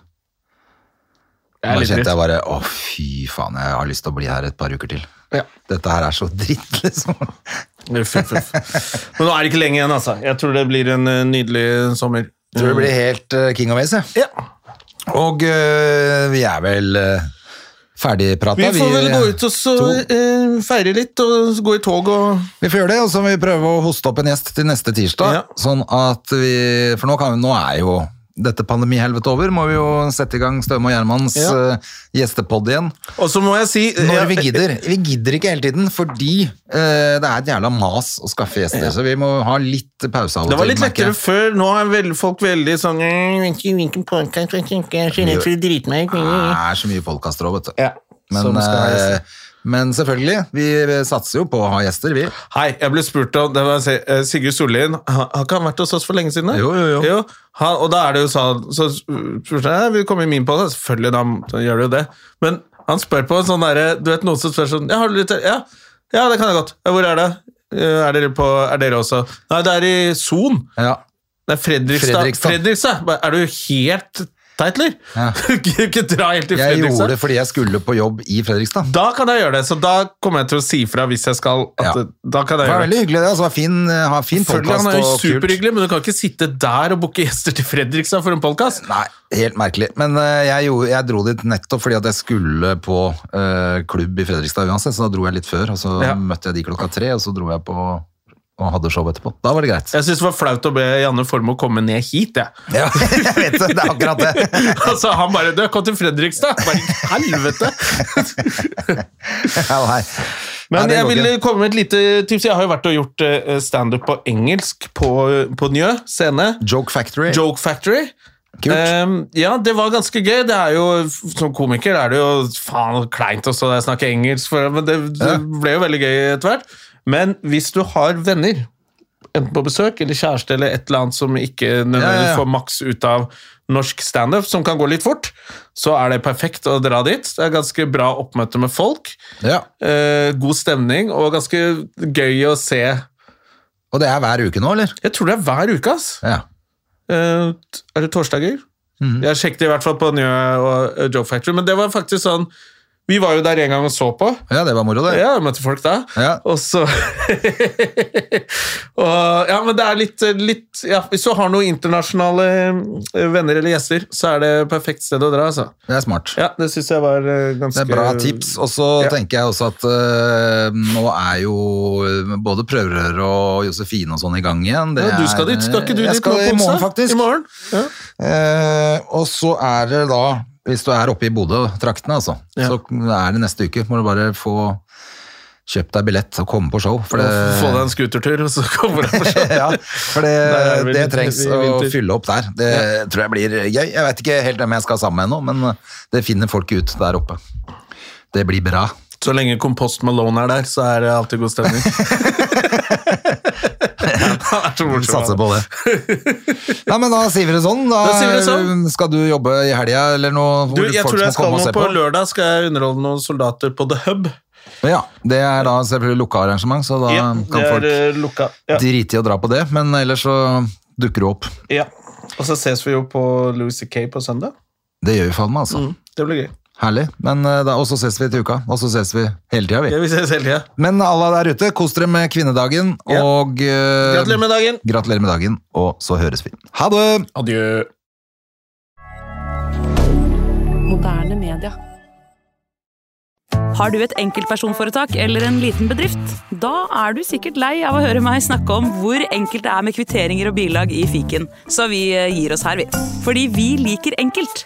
[SPEAKER 1] Det
[SPEAKER 2] Da
[SPEAKER 1] er litt
[SPEAKER 2] kjente jeg
[SPEAKER 1] dritt.
[SPEAKER 2] bare å, fy faen, jeg har lyst til å bli her et par uker til.
[SPEAKER 1] Ja.
[SPEAKER 2] Dette her er så dritt, liksom.
[SPEAKER 1] Uff, uff, uff. Men nå er det ikke lenge igjen, altså. Jeg tror det blir en eh, nydelig sommer.
[SPEAKER 2] Jeg tror det eh, blir helt eh, King of Ace, jeg.
[SPEAKER 1] Ja.
[SPEAKER 2] Og eh, vi er vel eh, ferdigprata.
[SPEAKER 1] Vi får vel gå ut og så
[SPEAKER 2] to.
[SPEAKER 1] eh, feire litt, og så gå i tog og
[SPEAKER 2] eh, Vi får gjøre det, og så må vi prøve å hoste opp en gjest til neste tirsdag.
[SPEAKER 1] Ja.
[SPEAKER 2] Sånn at vi For nå, kan vi, nå er jo dette pandemihelvetet over. Må vi jo sette i gang Støme og Gjermans
[SPEAKER 1] Ja.
[SPEAKER 2] eh, gjestepod igjen.
[SPEAKER 1] Og så må jeg si
[SPEAKER 2] Når
[SPEAKER 1] jeg-
[SPEAKER 2] vi gidder. Vi gidder ikke hele tiden, fordi eh, det er et jævla mas å skaffe gjester. Så vi må ha litt pause av og
[SPEAKER 1] Det var litt
[SPEAKER 2] merker
[SPEAKER 1] lettere
[SPEAKER 2] jeg.
[SPEAKER 1] før. Nå er vel, folk veldig sånn «Eh, vet ikke Hvilken podcast jeg tenker, jeg er så redd for å drite meg ut.
[SPEAKER 2] Det er så mye podkaster òg, vet du.
[SPEAKER 1] Ja,
[SPEAKER 2] men,
[SPEAKER 1] som skal ha gjester.
[SPEAKER 2] eh, men selvfølgelig, vi satser jo på å ha gjester, vi.
[SPEAKER 1] Hei, jeg ble spurt om det var, eh, Sigurd Sollien. Har har ikke han vært hos oss for lenge siden? da?
[SPEAKER 2] Jo, jo, jo.
[SPEAKER 1] han, og da er det jo sånn Så spurte jeg «Ja, vil du komme i min podkast. Selvfølgelig, da da gjør du jo det. Men han spør på en sånn derre Du vet noen som spør sånn Ja, har du litt Ja, ja det kan jeg godt. Ja, hvor er det? Eh, Er dere, på, er dere også Nei, det er i Son.
[SPEAKER 2] Ja.
[SPEAKER 1] Det er Fredrikstad.
[SPEAKER 2] Fredrikstad.
[SPEAKER 1] Fredrikstad. Bare, Er du helt teitler?
[SPEAKER 2] Ja.
[SPEAKER 1] Du kan ikke dra helt til
[SPEAKER 2] Jeg gjorde
[SPEAKER 1] Fredrikstad.
[SPEAKER 2] det fordi jeg skulle på jobb i Fredrikstad.
[SPEAKER 1] Da kan jeg gjøre det, så da kommer jeg til å si fra hvis jeg skal. At,
[SPEAKER 2] Ja.
[SPEAKER 1] Da kan
[SPEAKER 2] Det var
[SPEAKER 1] jeg gjøre det.
[SPEAKER 2] veldig hyggelig det, altså. Det var Fin, ha fin
[SPEAKER 1] Selvfølgelig,
[SPEAKER 2] podcast
[SPEAKER 1] han er jo
[SPEAKER 2] og kult.
[SPEAKER 1] superhyggelig, men du kan ikke sitte der og booke gjester til Fredrikstad for en podkast.
[SPEAKER 2] Nei, helt merkelig. Men eh, jeg, gjorde, jeg dro dit nettopp fordi at jeg skulle på eh, klubb i Fredrikstad uansett, så da dro jeg litt før, og så
[SPEAKER 1] Ja.
[SPEAKER 2] møtte jeg de klokka tre, og så dro jeg på og hadde show etterpå. Da var det greit.
[SPEAKER 1] Jeg syns det var flaut å be Janne Formoe komme ned hit, jeg.
[SPEAKER 2] Ja, jeg vet det, det er akkurat det.
[SPEAKER 1] altså, han bare Du, kom til Fredrikstad! Bare helvete!
[SPEAKER 2] Ja, nei. Nei,
[SPEAKER 1] Men
[SPEAKER 2] det
[SPEAKER 1] jeg
[SPEAKER 2] går
[SPEAKER 1] ville
[SPEAKER 2] ikke.
[SPEAKER 1] komme med et lite tips. Jeg har jo vært og gjort eh, standup på engelsk på, eh, på Njø scene.
[SPEAKER 2] Joke Factory.
[SPEAKER 1] Joke Factory.
[SPEAKER 2] Kult.
[SPEAKER 1] Ehm, ja, det var ganske gøy. Det er jo, Som komiker er det jo faen kleint å stå der og snakke engelsk, for, men det, det
[SPEAKER 2] Ja.
[SPEAKER 1] ble jo veldig gøy etter hvert. Men hvis du har venner, enten på besøk eller kjæreste eller et eller annet som ikke
[SPEAKER 2] Ja, ja,
[SPEAKER 1] nødvendigvis
[SPEAKER 2] ja.
[SPEAKER 1] får maks ut av norsk standup, som kan gå litt fort, så er det perfekt å dra dit. Det er ganske bra oppmøte med folk.
[SPEAKER 2] Ja,
[SPEAKER 1] eh, god stemning og ganske gøy å se.
[SPEAKER 2] og det er hver uke nå, eller?
[SPEAKER 1] Jeg tror det er hver uke, ass.
[SPEAKER 2] Ja.
[SPEAKER 1] Eh, t- er det torsdager?
[SPEAKER 2] Mhm.
[SPEAKER 1] Jeg sjekket i hvert fall på Njø og eh, Joke Factory, men det var faktisk sånn Vi var jo der en gang og så på.
[SPEAKER 2] ja, det var moro det.
[SPEAKER 1] Ja, jeg møtte folk da.
[SPEAKER 2] Ja.
[SPEAKER 1] Og så og, Ja, men det er litt, litt ja, Hvis du har noen internasjonale eh, venner eller gjester, så er det perfekt sted å dra, altså.
[SPEAKER 2] Det er smart.
[SPEAKER 1] Ja, det syns jeg var eh,
[SPEAKER 2] Det
[SPEAKER 1] ganske
[SPEAKER 2] er bra tips. Og så
[SPEAKER 1] Ja.
[SPEAKER 2] tenker jeg også at øh, nå er jo eh, både Prøverør og Josefine og sånn i gang igjen. Det
[SPEAKER 1] ja, du skal
[SPEAKER 2] er-
[SPEAKER 1] dit, skal ikke du
[SPEAKER 2] jeg
[SPEAKER 1] dit
[SPEAKER 2] skal
[SPEAKER 1] nå på
[SPEAKER 2] i morgen,
[SPEAKER 1] onsdag?
[SPEAKER 2] faktisk.
[SPEAKER 1] I morgen? Ja.
[SPEAKER 2] Eh, og så er det da, hvis du er oppe i Bodø-traktene, altså,
[SPEAKER 1] Ja.
[SPEAKER 2] så er det neste uke. Må du bare få kjøpt deg billett og komme på show. For det,
[SPEAKER 1] Få deg en scootertur, og så kommer du deg på show.
[SPEAKER 2] ja, for
[SPEAKER 1] Der er
[SPEAKER 2] det,
[SPEAKER 1] det
[SPEAKER 2] det
[SPEAKER 1] vel-
[SPEAKER 2] trengs
[SPEAKER 1] i
[SPEAKER 2] å
[SPEAKER 1] vinter.
[SPEAKER 2] fylle opp der. Det tror jeg blir gøy. Jeg vet ikke helt hvem jeg skal sammen med ennå, men det finner folk ut der oppe. Det blir bra.
[SPEAKER 1] Så lenge Kompost Malone er der, så er det alltid god stemning. Han er så
[SPEAKER 2] Vi
[SPEAKER 1] morsom.
[SPEAKER 2] satser
[SPEAKER 1] han.
[SPEAKER 2] på det. Nei, men da sier vi det sånn. Da,
[SPEAKER 1] Da sier vi det sånn.
[SPEAKER 2] Skal du jobbe i helga eller noe? hvor
[SPEAKER 1] Du, jeg
[SPEAKER 2] folk
[SPEAKER 1] tror jeg
[SPEAKER 2] må komme
[SPEAKER 1] skal
[SPEAKER 2] og
[SPEAKER 1] nå
[SPEAKER 2] se
[SPEAKER 1] på lørdag skal jeg underholde noen soldater på The Hub.
[SPEAKER 2] Ja, Det er da selvfølgelig lukka arrangement, så da
[SPEAKER 1] Ja, det
[SPEAKER 2] kan
[SPEAKER 1] er
[SPEAKER 2] folk
[SPEAKER 1] eh, lukka. Ja,
[SPEAKER 2] drite i å dra på det. Men ellers så dukker du opp.
[SPEAKER 1] ja. Og så ses vi jo på Louis C.K. på søndag.
[SPEAKER 2] Det gjør vi faen meg, altså.
[SPEAKER 1] Mm, det blir gøy.
[SPEAKER 2] Herlig. Men, eh, da, og så ses vi til uka. Og så ses vi hele tida, vi.
[SPEAKER 1] Ja, vi ses hele tida.
[SPEAKER 2] Men alle der ute, kos dere med kvinnedagen,
[SPEAKER 1] Ja.
[SPEAKER 2] og eh,
[SPEAKER 1] Gratulerer med dagen!
[SPEAKER 2] gratulerer med dagen, og så høres vi. Ha det!
[SPEAKER 1] Adjø.
[SPEAKER 3] Moderne media.
[SPEAKER 4] Har du et enkeltpersonforetak eller en liten bedrift? Da er du sikkert lei av å høre meg snakke om hvor enkelt det er med kvitteringer og bilag i fiken, så vi eh, gir oss her, vi. Fordi vi liker enkelt.